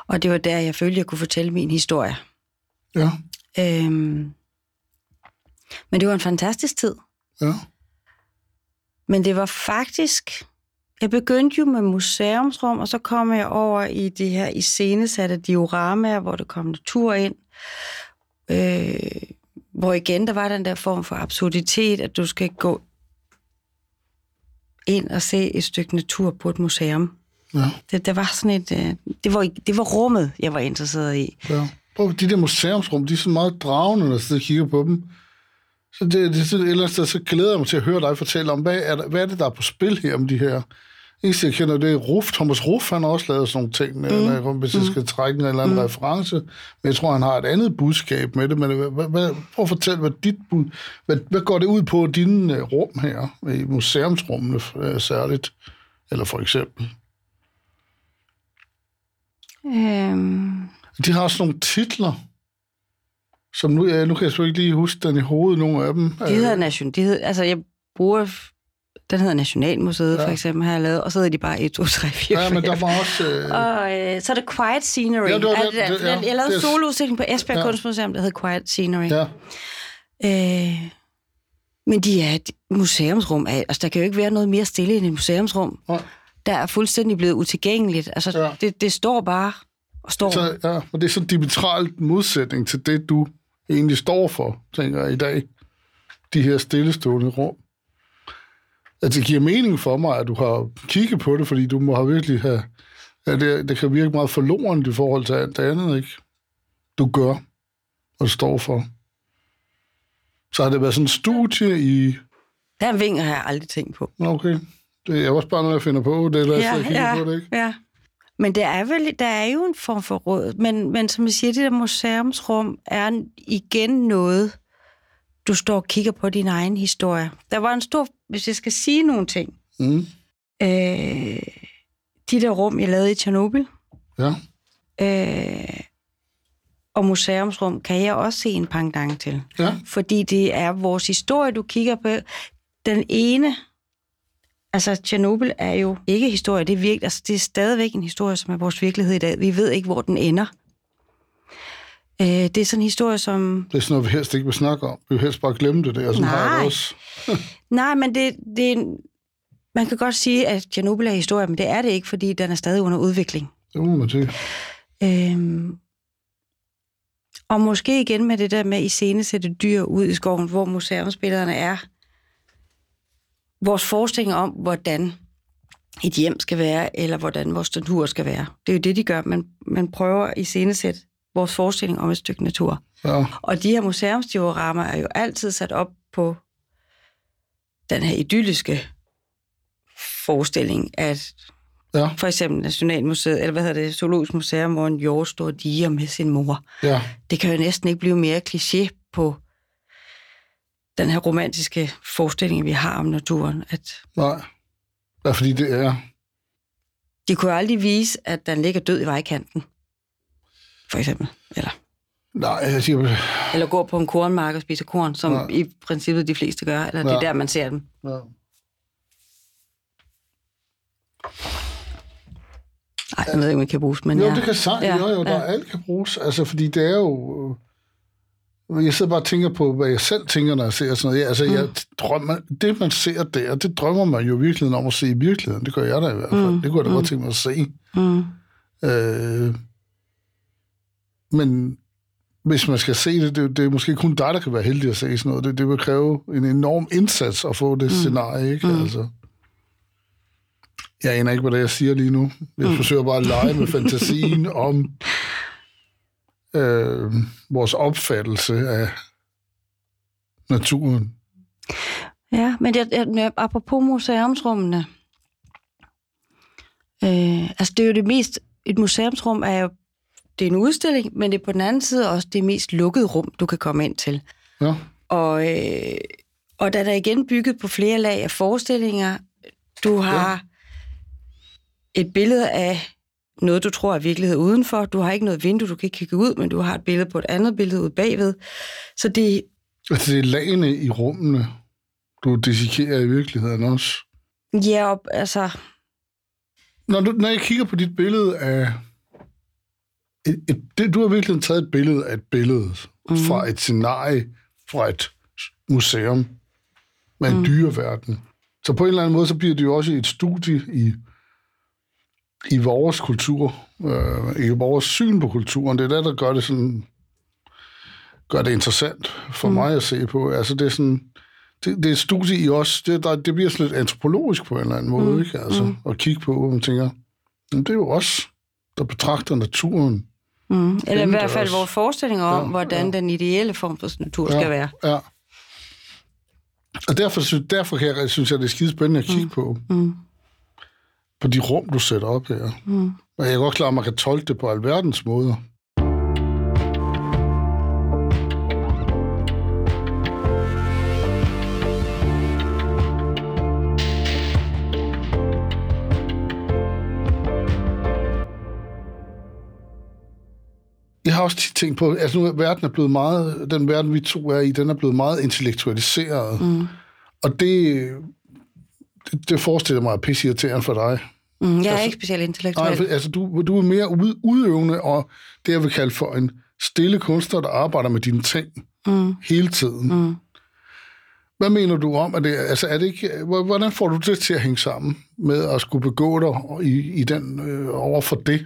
Og det var der, jeg følte, jeg kunne fortælle min historie.
ja,
Øhm, men det var en fantastisk tid.
ja,
Men det var faktisk... Jeg begyndte jo med museumsrum, og så kom jeg over i det her iscenesatte dioramaer, hvor der kom natur ind. Øh, hvor igen, der var den der form for absurditet, at du skal gå ind og se et stykke natur på et museum.
ja.
Det, det var sådan et... Øh, det, var, det var rummet, jeg var interesseret i.
ja. Prøv, de der museumsrum, de er så meget dragende, når jeg sidder og kigger på dem. Så det, det er sådan et eller andet sted, så glæder jeg mig til at høre dig fortælle om, hvad er, der, hvad er det, der er på spil her om de her? Eneste, jeg kender, det er Ruf. Thomas Ruf, han har også lavet sådan nogle ting, mm. når jeg, hvis jeg skal trække en eller anden mm. reference. Men jeg tror, han har et andet budskab med det. Men øh, hvad, hvad- hvad, prøv at fortælle, hvad, dit bud, hvad, hvad går det ud på i dine øh, rum her, i museumsrummene øh, særligt? Eller for eksempel.
Øhm,
De har sådan nogle titler, som nu, ja, nu kan jeg sgu ikke lige huske den i hovedet, nogle af dem.
de hedder nation... De hed, altså, jeg bruger... Den hedder Nationalmuseet,
Ja.
ja. for eksempel, har jeg lavet. Og så hedder de bare 1, 2, 3, 4,
Ja, men der var også... Øh,
Og øh, så er det Quiet Scenery.
Ja,
Ja,
det var det-
det, det,
det-
det,
ja,
ja, jeg lavede
det er-
en soloudstilling på Esbjerg
Ja.
ja. Kunstmuseum, der hed Quiet Scenery. Ja.
ja,
Øh, men de er et museumsrum. af- Altså, der kan jo ikke være noget mere stille end et museumsrum.
Nej.
Der er fuldstændig blevet utilgængeligt. Altså,
Ja.
ja. det, det står bare og står. Så...
så, ja, og det er sådan en diametral modsætning til det, du egentlig står for, tænker jeg, i dag. De her stillestående rum. Altså, det giver mening for mig, at du har kigget på det, fordi du må have virkelig have... Ja, det, det kan virke meget forlorent i forhold til alt det andet, ikke? Du gør, og står for. Så har det været sådan en studie i
Der vinger har jeg aldrig tænkt på.
Nå, Okay. Det er også bare noget, jeg finder på. Det er der, jeg sidder og kigger
ja,
på det, ikke?
ja. Men der er, vel, der er jo en form for råd. Men, men som jeg siger, det der museumsrum er igen noget, du står og kigger på din egen historie. Der var en stor, hvis jeg skal sige nogle ting.
Mm.
Øh, de der rum, jeg lavede i Tjernobyl,
Ja,
øh, og museumsrum kan jeg også se en pangdang til.
Ja.
Fordi det er vores historie, du kigger på. Den ene, altså Tjernobyl er jo ikke historie, det er, virke, altså, det er stadigvæk en historie, som er vores virkelighed i dag. Vi ved ikke, hvor den ender. Øh, det er sådan en historie, som...
Det er sådan noget, vi helst ikke vil snakke om. Vi vil helst bare glemme det der, sådan har jeg
Nej.
det også.
Nej, men det, det er en- man kan godt sige, at Tjernobyl er historie, men det er det ikke, fordi den er stadig under udvikling.
Det må man sige.
Øhm, og måske igen med det der med at iscenesætte dyr ud i skoven, hvor museumsbillederne er. Vores forestilling om, hvordan et hjem skal være, eller hvordan vores natur skal være. Det er jo det, de gør. Man, man prøver at iscenesætte vores forestilling om et stykke natur.
Ja.
Og de her museumsdiorammer er jo altid sat op på den her idylliske forestilling, at
Ja,
for eksempel Nationalmuseet, eller hvad hedder det, Zoologisk Museum, hvor en jord står og diger med sin mor.
ja,
Det kan jo næsten ikke blive mere kliché på den her romantiske forestilling, vi har om naturen. At
nej. Ja, fordi det er...
de kunne jo aldrig vise, at den ligger død i vejkanten, for eksempel. Eller,
Nej, jeg siger...
eller går på en kornmark og spiser korn, som
Nej.
ja. i princippet de fleste gør. Eller ja. det
Ja.
er der, man ser dem.
Ja.
Nej, jeg ved ikke, om det kan bruges, men
Jo,
ja.
det kan sagt. Ja,
Ja,
jo, jo, der
ja.
ja. alt kan bruges. Altså, fordi det er jo... øh, Jeg sidder bare og tænker på, hvad jeg selv tænker, når jeg ser sådan noget. Ja, altså, mm. jeg drømmer, det, man ser der, det drømmer man jo virkelig om at se i virkeligheden. Det gør jeg da i hvert fald. Mm. Det kunne jeg da mm. godt tænke mig at se.
Mm.
Øh, men hvis man skal se det, det, det er måske kun dig, der kan være heldig at se sådan noget. Det, det vil kræve en enorm indsats at få det mm. scenarie, ikke? Mm. Altså. Jeg aner ikke, hvad det er, jeg siger lige nu. Jeg mm. forsøger bare at lege med [laughs] fantasien om øh, vores opfattelse af naturen.
Ja, men jeg, jeg, jeg, apropos museumsrummene. Øh, altså, det er jo det mest... Et museumsrum er jo... Det er en udstilling, men det er på den anden side også det mest lukkede rum, du kan komme ind til.
Ja,
Og, øh, og den er igen bygget på flere lag af forestillinger. Du har ja. et billede af noget, du tror er virkelighed udenfor. Du har ikke noget vindue, du kan ikke kigge ud, men du har et billede på et andet billede ude bagved. Så det,
altså det er lagene i rummene, du dissekerer i virkeligheden også.
ja, og, altså,
når, du, når jeg kigger på dit billede af... Et, et, det, du har virkelig taget et billede af et billede mm. fra et scenarie, fra et museum med en mm. dyreverden. Så på en eller anden måde, så bliver det jo også et studie i, i vores kultur, øh, i vores syn på kulturen. Det er det, der gør det sådan gør det interessant for mm. mig at se på. Altså, det er sådan, det, det er et studie i os. Det, der, det bliver sådan lidt antropologisk på en eller anden måde, mm. ikke? Altså, mm. at kigge på, hvor man tænker, jamen, det er jo os, der betragter naturen.
Mm. Eller i hvert fald
Indendørs.
vores forestillinger om,
Ja,
ja, hvordan
ja.
ja. den ideelle form for natur ja. skal være.
Ja. Og derfor, sy- derfor kan jeg, synes jeg, det er skide spændende at kigge mm. på.
Mm.
På de rum, du sætter op her.
Mm.
Og jeg er godt klar, at man kan tolke det på alverdens måder. Jeg har også tit tænkt på, altså nu er verden er blevet meget, den verden vi to er i, den er blevet meget intellektualiseret. Mm. Og det, det, det forestiller mig er pisseirriterende for dig.
Mm. Jeg er ikke specielt
Nej, for,
intellektuel.
altså du, du er mere ud, udøvende og det, jeg vil kalde for en stille kunstner, der arbejder med dine ting
Mm.
hele tiden.
Mm.
Hvad mener du om, at det, altså er det ikke, hvor- hvordan får du det til at hænge sammen med at skulle begå dig i, i den, øh, over for det?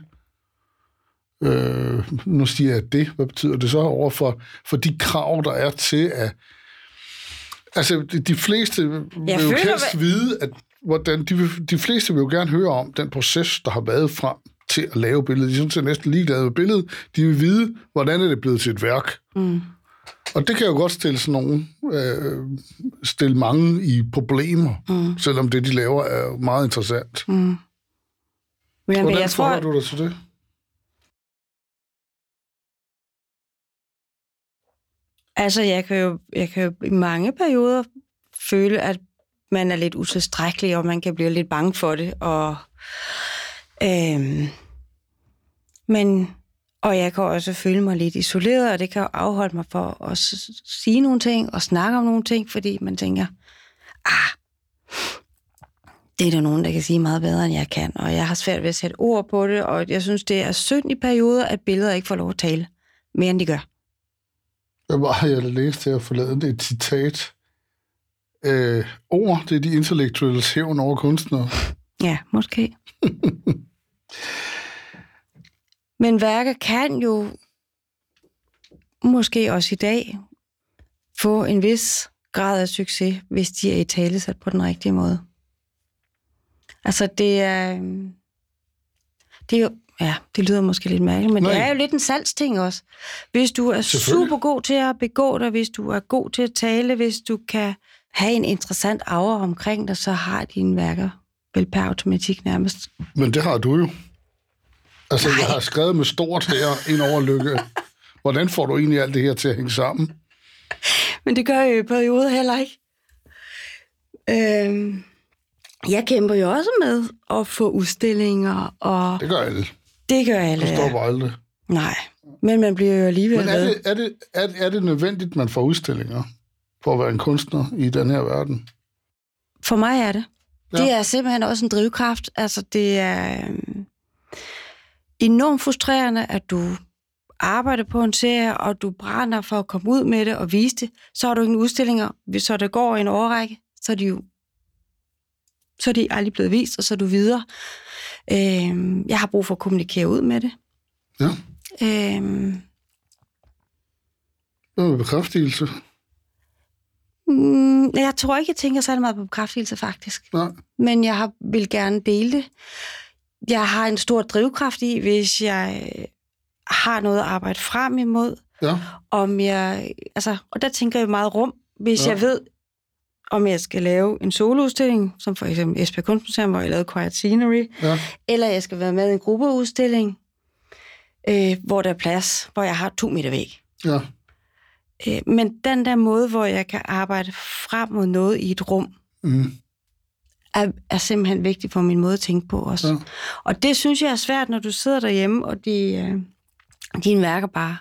Øh, nu siger jeg det, hvad betyder det så over for, for de krav, der er til at... Altså, de, de fleste vil
Jeg
jo
føler,
helst
hvad-
vide, at hvordan de, vil, de fleste vil jo gerne høre om den proces, der har været frem til at lave billedet. De er sådan set næsten ligeglade med billedet. De vil vide, hvordan er det blevet til et værk.
Mm.
Og det kan jo godt stille sådan nogen, øh, stille mange i problemer, mm. selvom det, de laver, er jo meget interessant. Mm.
Men, men
Hvordan
jeg tror,
forholder du dig til det?
altså jeg kan, jo, jeg kan jo i mange perioder føle, at man er lidt utilstrækkelig, og man kan blive lidt bange for det. Og, øhm, men Og jeg kan også føle mig lidt isoleret, og det kan jo afholde mig for at s- sige nogle ting og snakke om nogle ting, fordi man tænker, ah, det er der nogen, der kan sige meget bedre, end jeg kan, og jeg har svært ved at sætte ord på det, og jeg synes, det er synd i perioder, at billeder ikke får lov at tale mere, end de gør.
Jeg, var, jeg læste her forleden et citat. Øh, ord, det er de intellektuelle hævn over kunstnere.
Ja, måske. Men værker kan jo måske også i dag få en vis grad af succes, hvis de er i tale sat på den rigtige måde. Altså det er... øhm, Det er jo, ja, det lyder måske lidt mærkeligt, men Nej. det
Nej.
er jo lidt en salgsting også. Hvis du er
Selvfølgelig.
super god til at begå dig, hvis du er god til at tale, hvis du kan have en interessant aura omkring dig, så har dine værker vel per automatik nærmest
Men det har du jo. Altså, Nej.
Nej.
jeg har skrevet med stort her ind over lykke. Hvordan får du egentlig alt det her til at hænge sammen?
Men det gør jeg jo i perioder heller ikke. Øhm, jeg kæmper jo også med at få udstillinger, og
Det gør alle.
det gør alle.
Det stopper aldrig.
Nej, men man bliver jo alligevel
Men er
ved.
det, er, det, er, er det nødvendigt, man får udstillinger for at være en kunstner i den her verden?
For mig er det.
Ja.
Ja. Det er simpelthen også en drivkraft. Altså, det er øhm, enormt frustrerende, at du arbejder på en serie, og du brænder for at komme ud med det og vise det. Så har du ingen udstillinger. Hvis så det går en årrække, så er de jo så er de aldrig blevet vist, og så er du videre. Øhm, jeg har brug for at kommunikere ud med det.
Ja,
Øhm,
det er en bekræftelse.
mm, jeg tror ikke, jeg tænker særlig meget på bekræftelse, faktisk.
Nej.
men jeg har, vil gerne dele det. Jeg har en stor drivkraft i, hvis jeg øh, har noget at arbejde frem imod,
Ja,
om jeg, altså, og der tænker jeg meget rum,
Ja.
hvis ja. jeg ved, om jeg skal lave en soloudstilling, som for eksempel Esbjerg Kunstmuseum, hvor jeg lavede Quiet Scenery,
ja.
eller jeg skal være med i en gruppeudstilling, øh, hvor der er plads, hvor jeg har to meter væk.
Ja,
Øh, men den der måde, hvor jeg kan arbejde frem mod noget i et rum,
mm,
er, er simpelthen vigtig for min måde at tænke på også.
Ja.
Ja. Og det synes jeg er svært, når du sidder derhjemme, og de, øh, dine værker bare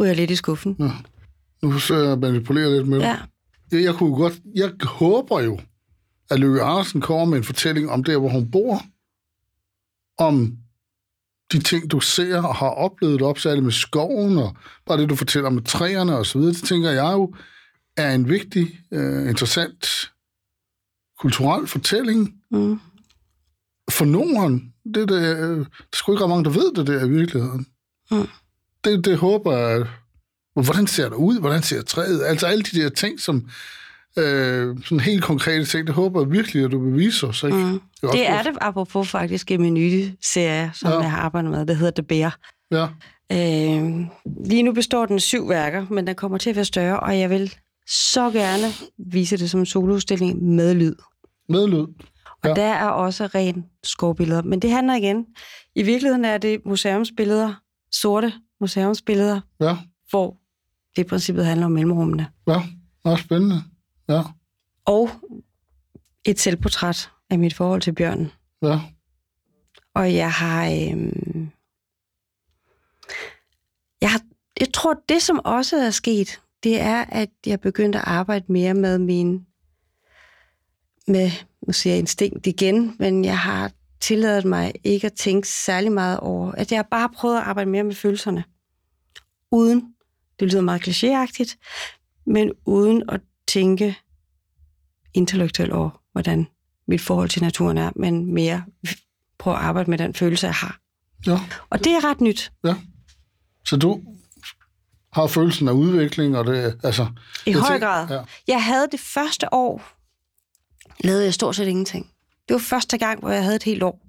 ryger lidt i skuffen.
ja. Nu forsøger jeg at manipulere lidt med det.
Ja,
Jeg, jeg kunne godt, jeg håber jo, at Løkke Andersen kommer med en fortælling om der, hvor hun bor. Om de ting, du ser og har oplevet op, særligt med skoven, og bare det, du fortæller med træerne og så videre, det tænker jeg jo, er en vigtig, øh, interessant kulturel fortælling
mm.
for Norden. Det, er det, øh, det er sgu ikke ret mange, der ved det der i virkeligheden.
Mm.
Det, det håber jeg. Men Hvordan ser det ud? Hvordan ser træet? Altså alle de der ting, som øh, sådan helt konkrete ting, det håber jeg virkelig, at du vil vise os. Ikke?
Mm.
også
det er
godt.
det apropos faktisk i min nye serie, som
Ja.
ja. jeg har arbejdet med, der hedder The Bear.
Ja,
Øh, lige nu består den af syv værker, men den kommer til at være større, og jeg vil så gerne vise det som en soloudstilling med lyd.
medlyd.
Og
Ja.
ja. der er også ren skovbilleder. Men det handler igen. I virkeligheden er det museumsbilleder, sorte museumsbilleder,
Ja,
hvor det i princippet handler om mellemrummene.
ja. Nå, spændende. Ja,
Og et selvportræt af mit forhold til bjørnen.
ja.
Og jeg har... Øhm, jeg, har jeg tror, det som også er sket, det er, at jeg begyndte at arbejde mere med min... Med, nu siger jeg instinkt igen, men jeg har tilladet mig ikke at tænke særlig meget over, at jeg har bare prøvet at arbejde mere med følelserne. Uden, det lyder meget klichéagtigt, men uden at tænke intellektuelt over, hvordan mit forhold til naturen er, men mere prøve at arbejde med den følelse, jeg har.
ja.
Og det er ret nyt
Så du har følelsen af udvikling, og det altså...
i
det er
høj
ting-
grad.
Ja.
Jeg havde det første år, lavede jeg stort set ingenting. Det var første gang, hvor jeg havde et helt år,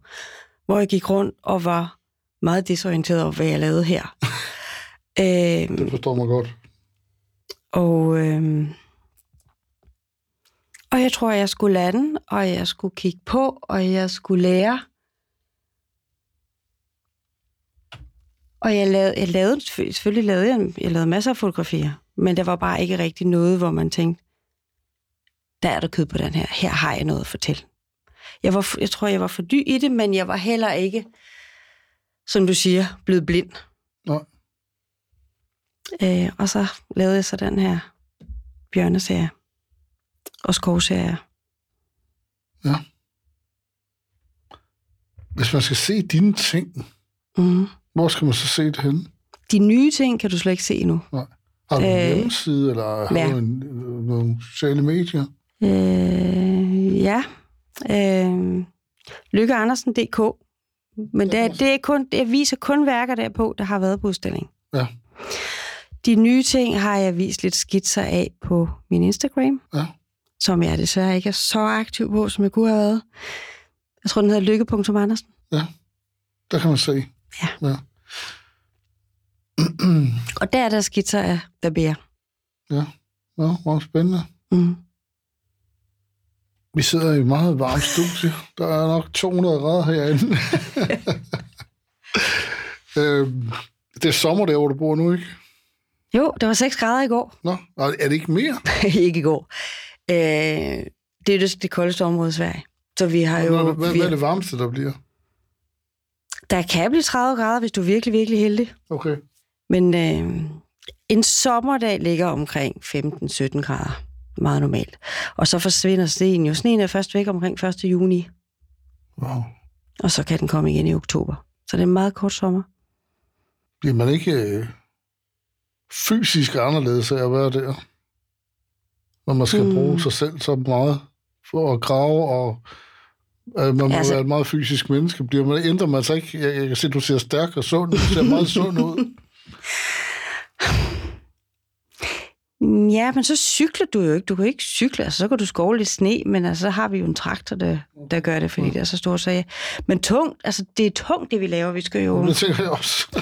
hvor jeg gik rundt og var meget desorienteret over, hvad jeg lavede her. øhm,
Det forstår mig godt.
og, øhm, og jeg tror, jeg skulle lande, og jeg skulle kigge på, og jeg skulle lære. Og jeg lavede, jeg lavede selvfølgelig lavede jeg, jeg lavede masser af fotografier, men der var bare ikke rigtig noget, hvor man tænkte, der er der kød på den her, her har jeg noget at fortælle. Jeg, var, jeg tror, jeg var for dyb i det, men jeg var heller ikke, som du siger, blevet blind.
Nå.
Øh, og så lavede jeg så den her bjørneserie og skovserie.
Ja. Hvis man skal se dine ting,
Mm.
hvor skal man så se det henne?
De nye ting kan du slet ikke se endnu.
Har du en
Øh,
hjemmeside, eller har
ja.
du en, øh, nogle sociale medier?
Øh, ja. Øh, Lykkeandersen.dk. Men det, er, det, er kun, det viser kun værker derpå, der har været på udstilling.
Ja.
De nye ting har jeg vist lidt skitser af på min Instagram,
Ja.
som jeg desværre ikke er så aktiv på, som jeg kunne have været. Jeg tror, den hedder lykke.andersen.
Der kan man se.
Ja.
ja. [clears throat]
Og der er der skitser af der bærer.
Nå, hvor spændende.
Mm.
Vi sidder i et meget varmt studie. Der er nok 200 grader herinde. [laughs] øhm, det er sommer der, hvor du bor nu, ikke?
Jo, det var 6 grader i går.
Nå, og er det ikke mere?
[laughs] ikke i går. Øh, det er det, det koldeste område i Sverige. Så vi har jo...
Nå, Hvad,
vi,
hvad er det varmeste, der bliver?
Der kan blive 30 grader, hvis du er virkelig, virkelig heldig.
Okay.
Men øh, en sommerdag ligger omkring 15-17 grader. Meget normalt. Og så forsvinder sneen jo. Sneen er først væk omkring 1. juni,
Wow.
og så kan den komme igen i oktober. Så det er en meget kort sommer.
Bliver man ikke øh, fysisk anderledes af at være der? Når man skal
Hmm.
mm. bruge sig selv så meget for at grave, og øh, man må
Altså-
altså... være et meget fysisk menneske. Bliver man, ændrer man sig ikke? Jeg, jeg kan se, du ser stærk og sund. Du ser meget sund
[laughs]
ud.
Ja, men så cykler du jo ikke. Du kan ikke cykle, altså så kan du skovle lidt sne, men altså så har vi jo en traktor, der, der gør det, fordi det er så stort. Så ja. Men tungt, altså det er tungt, det vi laver. Vi skal jo...
Det tænker jeg også.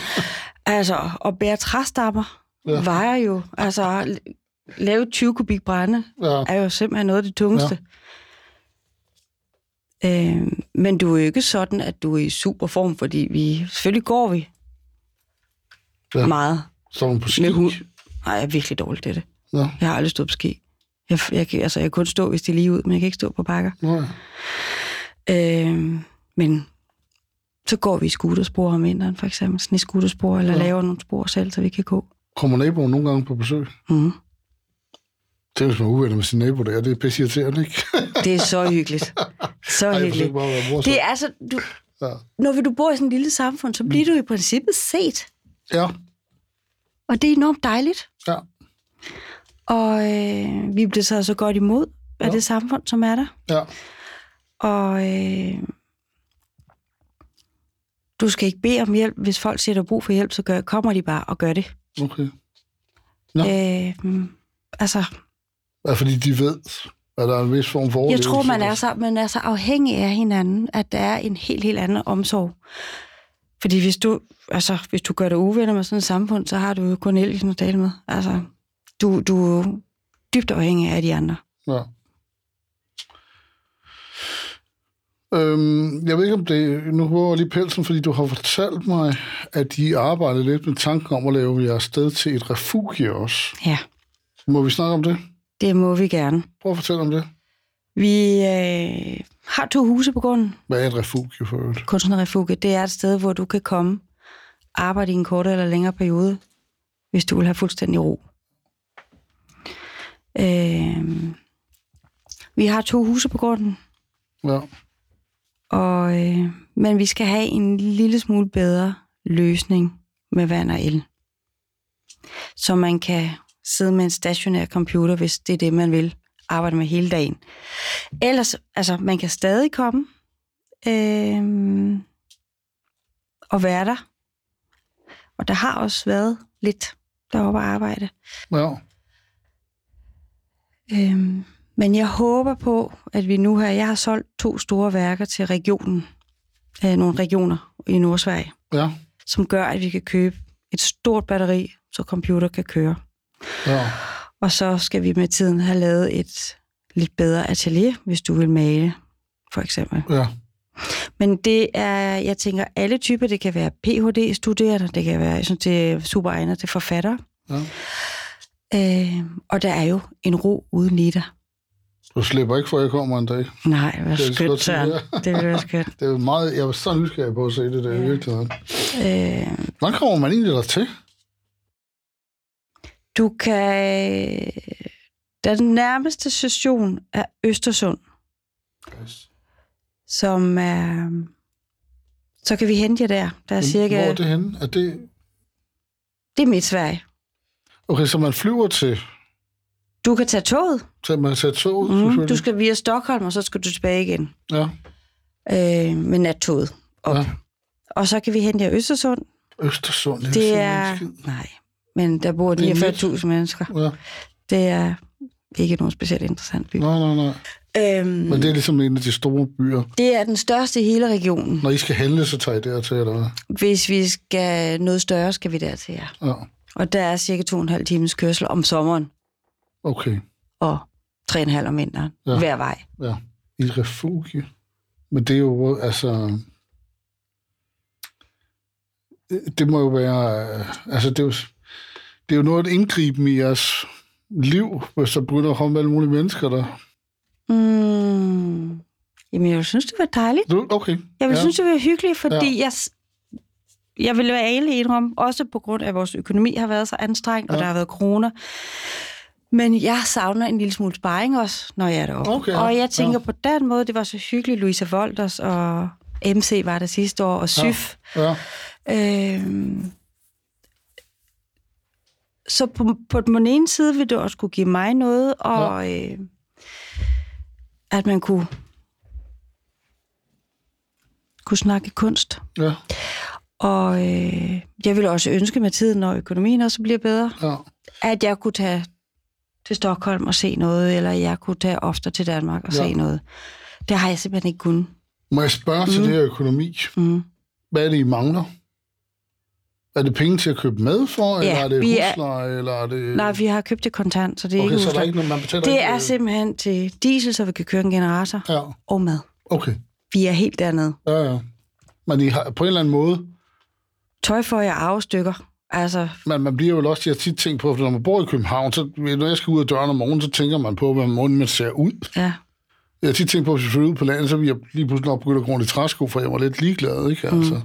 Altså, at bære træstapper
Ja.
ja. vejer jo. Altså, l- lave 20 kubik brænde
Ja.
er jo simpelthen noget af det tungeste. Ja. Øh, men du er jo ikke sådan, at du er i super form, fordi vi... Selvfølgelig går vi
Ja.
ja. meget
Som på ski.
med hund. Nej, jeg er virkelig dårlig til det.
Nå,
Jeg har aldrig stået på ski. Jeg, jeg, kan- altså, jeg kan kun stå, hvis det er lige ud, men jeg kan ikke stå på bakker.
nå ja.
Øh, men så går vi i skuterspor om vinteren, for eksempel. Sådan i skuterspor, eller
Ja.
ja. laver nogle spor selv, så vi kan gå.
Kommer naboen nogle gange på besøg?
Mm.
Det er, hvis man er uvenner med sin nabo der. Det er pisse irriterende, ikke?
Det er
[laughs]
så hyggeligt. Så
Ej,
Ej,
jeg
hyggeligt.
forsøger bare at være morsom.
Det er altså, du,
Ja.
når du bor i sådan et lille samfund, så
Mm.
bliver du i princippet set.
ja,
Og det er enormt dejligt.
ja.
Og øh, vi bliver så så godt imod af
Ja.
det samfund, som er der.
Ja,
Og øh, du skal ikke bede om hjælp. Hvis folk siger, der er brug for hjælp, så gør, kommer de bare og gør det.
okay. Nå.
Øh, altså,
Ja, fordi de ved, at der er en vis form for
jeg
overlevelse.
tror, man
der-
er, så, man er så afhængig af hinanden, at der er en helt, helt anden omsorg. Fordi hvis du, altså, hvis du gør dig uvenner med sådan et samfund, så har du jo kun Elgin at tale med. Altså, du, du er jo dybt afhængig af de andre.
Ja. Øhm, jeg ved ikke, om det... Nu håber jeg lige pelsen, fordi du har fortalt mig, at I arbejder lidt med tanken om at lave jeres sted til et refugie også.
Ja,
Må vi snakke om det?
det må vi gerne.
Prøv at fortælle om det.
Vi øh, har to huse på grunden.
Hvad er et refugie for øvrigt?
Kunstnerrefugie, det er et sted, hvor du kan komme, arbejde i en kortere eller længere periode, hvis du vil have fuldstændig ro. Øh, vi har to huse på grunden.
Ja.
Og, øh, men vi skal have en lille smule bedre løsning med vand og el. Så man kan sidde med en stationær computer, hvis det er det, man vil arbejde med hele dagen. Ellers, altså, man kan stadig komme øh, og være der. Og der har også været lidt deroppe at arbejde.
Ja.
Øhm, men jeg håber på, at vi nu her... Jeg har solgt to store værker til regionen. Øh, nogle regioner i Nordsverige,
Ja.
som gør, at vi kan købe et stort batteri, så computer kan køre.
Ja.
Og så skal vi med tiden have lavet et lidt bedre atelier, hvis du vil male, for eksempel.
Ja.
Men det er, jeg tænker, alle typer. Det kan være Ph.D.-studerende, det kan være, jeg synes, det er super egnet til forfattere.
ja.
Øh, og der er jo en ro uden lige dig.
Du slipper ikke, for jeg kommer en dag.
Nej, hvor
Det er
skønt,
godt,
Søren.
ja.
Det ville være skønt.
Det er jo meget, jeg var så nysgerrig på at se det der ja. i virkeligheden.
Øh,
Hvordan kommer man egentlig der til?
Du kan... Den nærmeste station er Østersund,
Yes.
som er... Så kan vi hente jer der. Der er cirka...
Hvor er det henne? Er det...
det er midt Sverige.
Okay, så man flyver til,
Du kan tage toget.
til man tager toget,
Mm,
selvfølgelig.
du skal via Stockholm, og så skal du tilbage igen
Ja,
øh, med nattoget op.
Ja.
Ja. Og så kan vi hente jer i Østersund.
Østersund. jeg
Det
siger
er...
en skid.
Nej, men der bor
Det er midt.
49.000 mennesker.
Ja.
Det er ikke nogen specielt interessant by.
Nej, nej, nej.
Øhm,
Men det er ligesom en af de store byer.
det er den største i hele regionen.
Når I skal handle, så tager I dertil, eller hvad?
Hvis vi skal noget større, skal vi dertil, ja.
Ja,
Og der er cirka to og en halv times kørsel om sommeren,
okay.
og tre og en halv om vinteren,
Ja.
ja. hver vej.
Ja. I et refugie. Men det er jo, altså... Det må jo være... Altså, det er jo, det er jo noget at indgriben i jeres liv, hvis der begynder at komme alle mulige mennesker der.
Mm. Jamen, jeg synes, det var dejligt.
Du, okay.
Jeg vil
ja.
ja. synes, det var hyggeligt, fordi ja. jeg, s- jeg vil være ærlig indrømme, også på grund af, at vores økonomi har været så anstrengt, ja.
Ja.
og der har været corona. Men jeg savner en lille smule sparring også, når jeg er deroppe.
Okay, ja.
og jeg tænker
Ja.
på den måde, det var så hyggeligt. Louise Volders og MC var der sidste år, og Syf.
Ja,
Ja. Øhm, så på, på den ene side ville det også kunne give mig noget, og ja. øh, at man kunne, kunne snakke kunst.
ja,
Og øh, jeg ville også ønske med tiden, når økonomien også bliver bedre,
ja.
at jeg kunne tage til Stockholm og se noget, eller jeg kunne tage ofte til Danmark og
Ja.
ja. se noget. Det har jeg simpelthen ikke kunnet.
Må jeg spørge mm. til
Mm.
det her økonomi?
Mm.
Hvad er det, I mangler? Er det penge til at købe mad for,
Ja,
eller er det
vi er-
husleje, eller er det...
Nej, vi har købt det kontant, så det er
okay,
ikke
så er der
husleje.
ikke noget, man betaler
Det
ikke,
er
øh,
simpelthen til diesel, så vi kan køre en generator
Ja,
og mad.
okay.
Vi er helt dernede.
Ja, ja. Men I har, på en eller anden måde,
Tøj får jeg arvestykker. Altså,
man, man bliver jo også, jeg har tit tænkt på, for når man bor i København, så når jeg skal ud af døren om morgenen, så tænker man på, hvordan morgenen man ser ud.
ja.
Jeg har tit tænkt på, hvis jeg flytter ud på landet, så ville jeg lige pludselig nok begynde at gå rundt i træsko, for jeg var lidt ligeglad,
Mm.
ikke? Altså.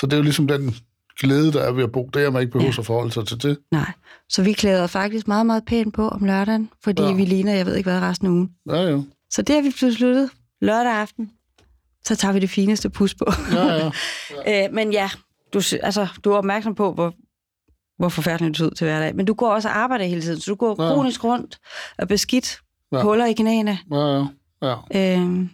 Så det er jo ligesom den glæde, der er ved at bo der, man ikke behøver ja. at forholde sig til det.
Nej. Så vi klæder faktisk meget, meget pænt på om lørdagen, fordi
Ja.
ja. vi ligner, jeg ved ikke hvad, resten af ugen.
Ja, ja.
Så det har vi besluttet lørdag aften. Så tager vi det fineste pus på.
ja, ja.
[laughs] øh, men ja, du, sy- altså, du er opmærksom på, hvor, hvor forfærdeligt det ser ud til hverdag. Men du går også og arbejder hele tiden, så du går
Ja.
ja. kronisk rundt og beskidt.
Ja.
Ja. Huller i knæene.
ja, ja. ja.
Øh,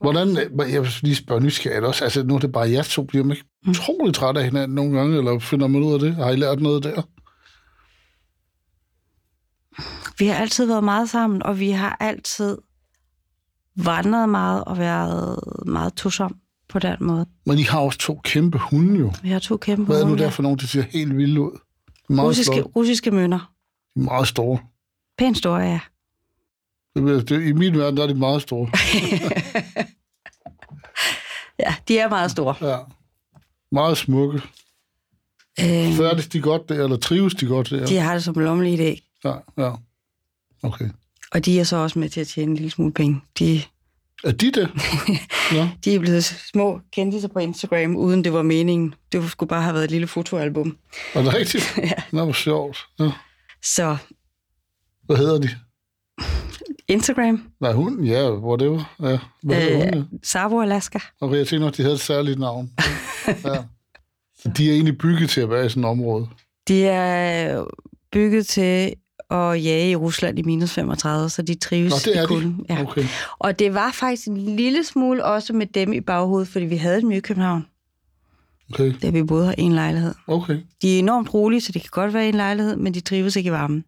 Hvordan, jeg vil lige spørge nysgerrigt også, altså nu er det bare jer to, bliver man ikke
Mm.
utrolig træt af hinanden nogle gange, eller finder man ud af det? Har I lært noget der?
vi har altid været meget sammen, og vi har altid vandret meget og været meget tosom på den måde.
Men I har også to kæmpe hunde jo.
Vi har to kæmpe
Hvad er nu
hunde.
der for nogen, der ser helt vildt ud? De er Meget
russiske,
flotte.
russiske mønner.
De er meget store.
Pænt store, ja.
Det ved jeg, det, I min verden der er de meget
[laughs]
store.
Ja, de er meget store.
Ja. Meget smukke.
Øh,
Færdes de godt der, eller trives de godt der?
de har det som lommelige dag.
Ja, ja. Okay.
Og de er så også med til at tjene en lille smule penge. De,
Er de
[laughs]
det? ja.
de er blevet små kendtiser på Instagram, uden det var meningen. Det skulle bare have været et lille fotoalbum.
Er det rigtigt? ja. Nå, hvor sjovt. Ja.
Så
Hvad hedder de?
Instagram,
Nej, hunden, ja, whatever. Ja. Hvad hedder
Øh,
øh, hunden? ja?
Savo Alaska.
Okay, jeg tænkte nok, de havde et særligt navn. Ja. De er egentlig bygget til at være i sådan et område.
De er bygget til at jage i Rusland i minus 35, så de trives
Nå, det er
i
de. Uh.
kulden. Ja.
Okay.
Og det var faktisk en lille smule også med dem i baghovedet, fordi vi havde dem i København,
Okay.
da vi boede her i en lejlighed.
Okay.
De er enormt rolige, så det kan godt være i en lejlighed, men de trives ikke i varmen.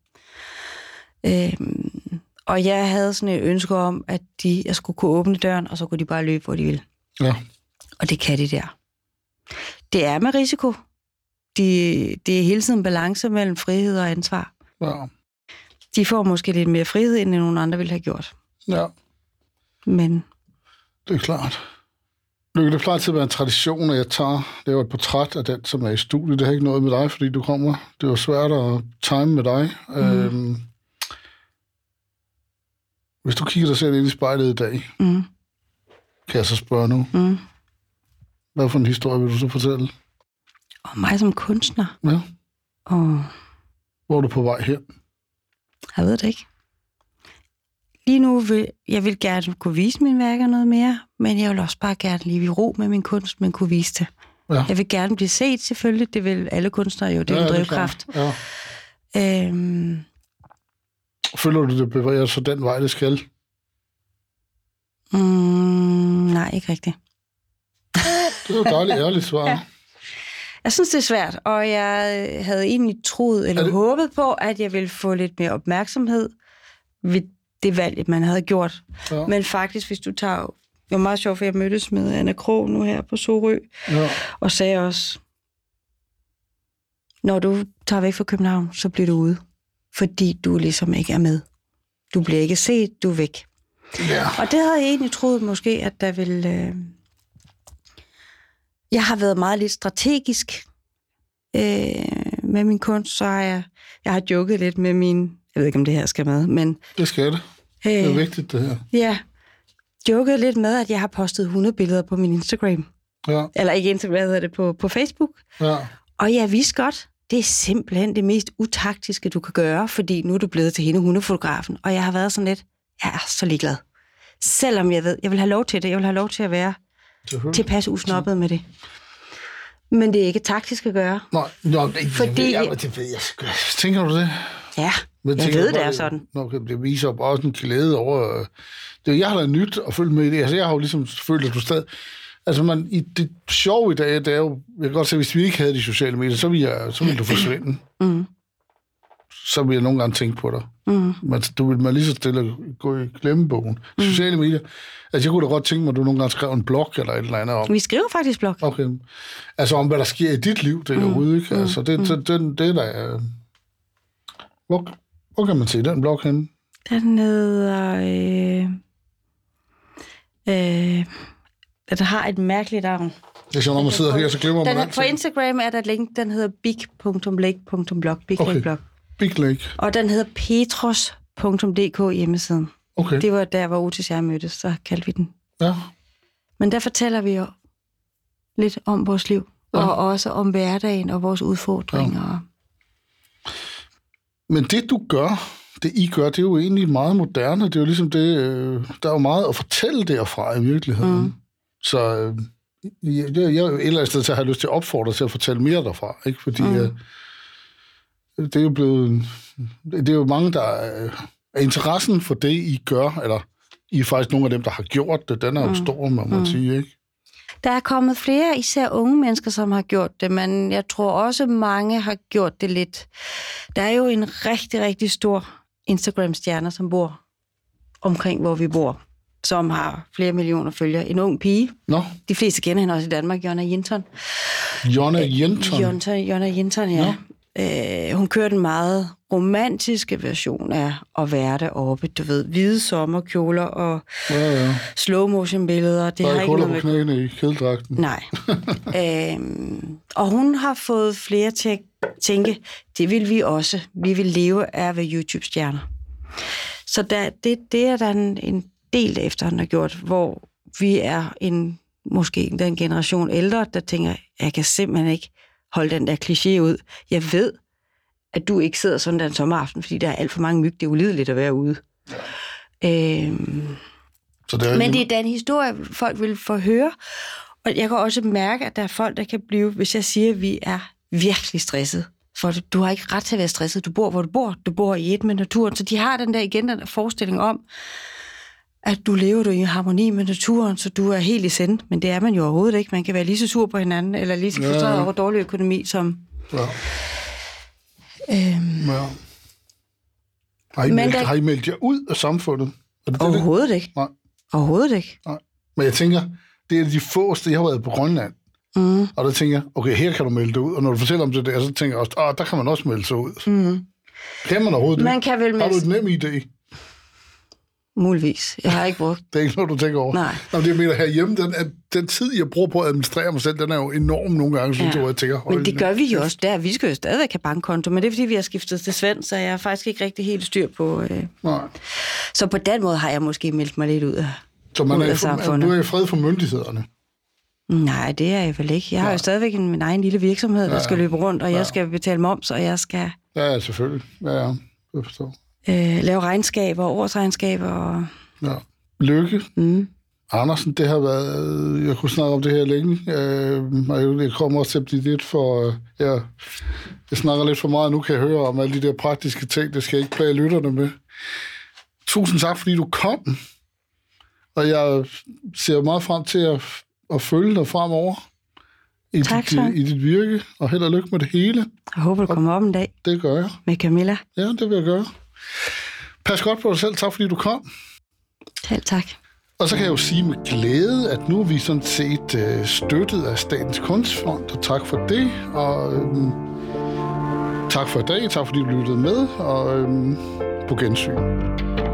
Øhm, og jeg havde sådan et ønske om, at de, jeg skulle kunne åbne døren, og så kunne de bare løbe, hvor de ville.
Ja.
Og det kan de der. Det er med risiko. De, det er hele tiden balance mellem frihed og ansvar.
Ja.
De får måske lidt mere frihed, end nogen andre ville have gjort.
ja.
Men
Det er klart. Lykke, det plejer til at være en tradition, at jeg tager, laver et portræt af den, som er i studiet. Det har ikke noget med dig, fordi du kommer. Det var svært at time med dig.
Mhm.
Mm. Øhm, hvis du kigger dig selv ind i spejlet i dag,
mm,
kan jeg så spørge nu,
mm.
hvad for en historie vil du så fortælle?
Og mig som kunstner.
Ja.
Og
Hvor er du på vej hen?
Jeg ved det ikke. Lige nu vil jeg vil gerne kunne vise mine værker noget mere, men jeg vil også bare gerne lige i ro med min kunst, men kunne vise det.
Ja.
Jeg vil gerne blive set selvfølgelig, det vil alle kunstnere jo, det er ja, en drivkraft.
klart. Ja.
Øhm,
Føler du, det bevæger sig den vej, det skal?
mm, nej, ikke rigtigt.
Det er jo et dejligt ærligt svar. ja.
Jeg synes, det er svært, og jeg øh, havde egentlig troet eller
Er
det...
det-
håbet på, at jeg ville få lidt mere opmærksomhed ved det valg, man havde gjort.
Ja.
Men faktisk, hvis du tager... Det var meget sjovt, for jeg mødtes med Anna Krog nu her på Sorø,
ja.
og sagde også, når du tager væk fra København, så bliver du ude, fordi du ligesom ikke er med. Du bliver ikke set, du er væk.
ja.
Og det havde jeg egentlig troet måske, at der ville... Øh... Jeg har været meget lidt strategisk øh, med min kunst, så har jeg, jeg har joket lidt med min... Jeg ved ikke, om det her skal med, men...
Det skal det.
Øh,
Det er vigtigt, det her.
Ja, joket lidt med, at jeg har postet 100 billeder på min Instagram.
Ja,
Eller ikke Instagram, hvad hedder det, på, på Facebook.
ja.
Og jeg vidste godt, det er simpelthen det mest utaktiske, du kan gøre, fordi nu er du blevet til hende hundefotografen. Og jeg har været sådan lidt, jeg er så ligeglad. Selvom jeg ved, jeg vil have lov til det, jeg vil have lov til at være
Selvfølgelig.
tilpas usnoppet med det. Men det er ikke taktisk at gøre.
Nej, nå, det, Fordi...
Fordi-
jeg, ved- det ved jeg sgu. Tænker du det?
Ja,
Men
jeg
tænker
ved,
du
det er
bare,
sådan.
Nå, okay, det viser bare også en glæde over... øh, Det, jeg har da nyt at følge med i det. Altså, jeg har jo ligesom følt, at du stadig... Altså, man, i det sjove i dag, det er jo... Jeg kan godt se, at hvis vi ikke havde de sociale medier, så ville, jeg, så ville du forsvinde.
[clears throat] Mm.
Så ville jeg nogle gange tænke på dig.
Mm.
Man, du ville man lige så stille gå i glemmebogen. Sociale medier. Altså, jeg kunne da godt tænke mig, at du nogle gange skrev en blog eller et eller andet om,
Vi skriver faktisk blog.
Okay. Altså om, hvad der sker i dit liv, det er mm. ude, ikke? Altså, det, det, det, det er der... øh, Hvor, hvor kan man se den blog henne?
Den hedder... Øh, øh, den har et mærkeligt navn.
Det er sjovt, når man sidder her, så glemmer man
Den, på
altid.
Instagram er der et link, den hedder big.lake.blog. Big
Okay.
okay. blog.
Big Lake.
Og den hedder petros.dk hjemmesiden.
Okay.
Det var der, hvor Otis og jeg mødtes, så kaldte vi den.
Ja.
Men der fortæller vi jo lidt om vores liv, ja.
Ja.
og også om hverdagen og vores udfordringer. Ja.
Men det, du gør, det I gør, det er jo egentlig meget moderne. Det er jo ligesom det... Øh, der er jo meget at fortælle derfra i virkeligheden.
Mm.
Mm. Så øh, jeg, jeg, jeg er et eller andet sted til at have lyst til at opfordre til at fortælle mere derfra, ikke? Fordi
Mm.
mm. øh, det er jo blevet... en- Det er jo mange, der... Øh, er interessen for det, I gør, eller I er faktisk nogle af dem, der har gjort det, den er jo
Mm.
mm. stor, man må
Mm.
mm. sige, ikke?
Der er kommet flere, især unge mennesker, som har gjort det, men jeg tror også, mange har gjort det lidt. Der er jo en rigtig, rigtig stor Instagram-stjerne, som bor omkring, hvor vi bor, som har flere millioner følgere. En ung pige.
Nå,
De fleste kender hende også i Danmark, Jonna Jinton.
Jonna Jenton.
Jonta, Øh, Jonna Jinton, ja. Øh, hun kører den meget romantiske version af at være deroppe. Du ved, hvide sommerkjoler og
Ja, ja.
slow motion billeder. Det
Der
har
er
ikke
huller
noget
på
med...
knæene i kædedragten.
Nej. øhm, og hun har fået flere til at tænke, det vil vi også. Vi vil leve af at være YouTube-stjerner. Så der, det, det er der en, en del efter, han har gjort, hvor vi er en måske den generation ældre, der tænker, jeg kan simpelthen ikke holde den der kliché ud. Jeg ved, at du ikke sidder sådan der en sommeraften, fordi der er alt for mange myg. Det er ulideligt at være ude. Øhm,
Så det er
men det er da en historie, folk vil få høre. Og jeg kan også mærke, at der er folk, der kan blive, hvis jeg siger, at vi er virkelig stresset. For du, du har ikke ret til at være stresset. Du bor, hvor du bor. Du bor i et med naturen. Så de har den der igen, den der forestilling om, at du lever du i harmoni med naturen, så du er helt i send. Men det er man jo overhovedet ikke. Man kan være lige så sur på hinanden, eller lige så
Ja, ja.
frustreret over dårlig økonomi, som...
Ja.
Øhm,
Ja. Har, I
Men
meldt,
der-
der... har I meldt jer ud af samfundet? Er det det, det?
overhovedet ikke.
Nej.
Overhovedet ikke.
Nej. Men jeg tænker, det er de fåste, jeg har været på Grønland,
Mm,
og der tænker jeg, okay, her kan du melde dig ud. Og når du fortæller om det der, så tænker jeg også, ah, der kan man også melde sig ud.
mm.
Kan man overhovedet
Man
det?
kan vel
Har du
melde...
et nem idé?
Muligvis. Jeg har ikke brugt...
Det er ikke noget, du tænker over.
Nej.
Nå, men det jeg mener herhjemme, den, er, den tid, jeg bruger på at administrere mig selv, den er jo enorm nogle gange, synes
Ja.
ja. jeg, hvor jeg tænker,
Men det
nu.
gør vi jo også der. Vi skal jo stadigvæk have bankkonto, men det er fordi, vi har skiftet til Svend, så jeg er faktisk ikke rigtig helt styr på... Øh.
Nej.
Så på den måde har jeg måske meldt mig lidt ud af.
Så man
Ud
er, i,
af
fred-
samfundet.
du er i fred for myndighederne.
Nej, det er jeg vel ikke. Jeg har
Nej.
jo stadigvæk en, min egen lille virksomhed, der
Ja,
skal løbe rundt, og
ja.
jeg skal betale moms, og jeg skal
Ja, ja, selvfølgelig. Ja, ja. Jeg forstår.
øh, lave regnskaber og årsregnskaber. Og,
Ja. Lykke,
mm.
Andersen, det har været... øh, Jeg kunne snakke om det her længe, øh, og jeg- jeg kommer også til at blive lidt for... Øh, jeg, jeg snakker lidt for meget, nu kan jeg høre om alle de der praktiske ting, det skal jeg ikke plage lytterne med. Tusind tak, fordi du kom, og jeg ser meget frem til at, at følge dig fremover i,
Tak,
dit,
Søren.
i dit virke, og held og lykke med det hele.
Jeg håber, du kommer op en dag
Det gør jeg.
med Camilla.
Ja, det vil jeg gøre. Pas godt på dig selv. Tak, fordi du kom.
Selv tak.
Og så kan jeg jo sige med glæde, at nu er vi sådan set øh, støttet af Statens Kunstfond, og tak for det. Og øhm, tak for i dag, tak fordi du lyttede med, og øhm, på gensyn.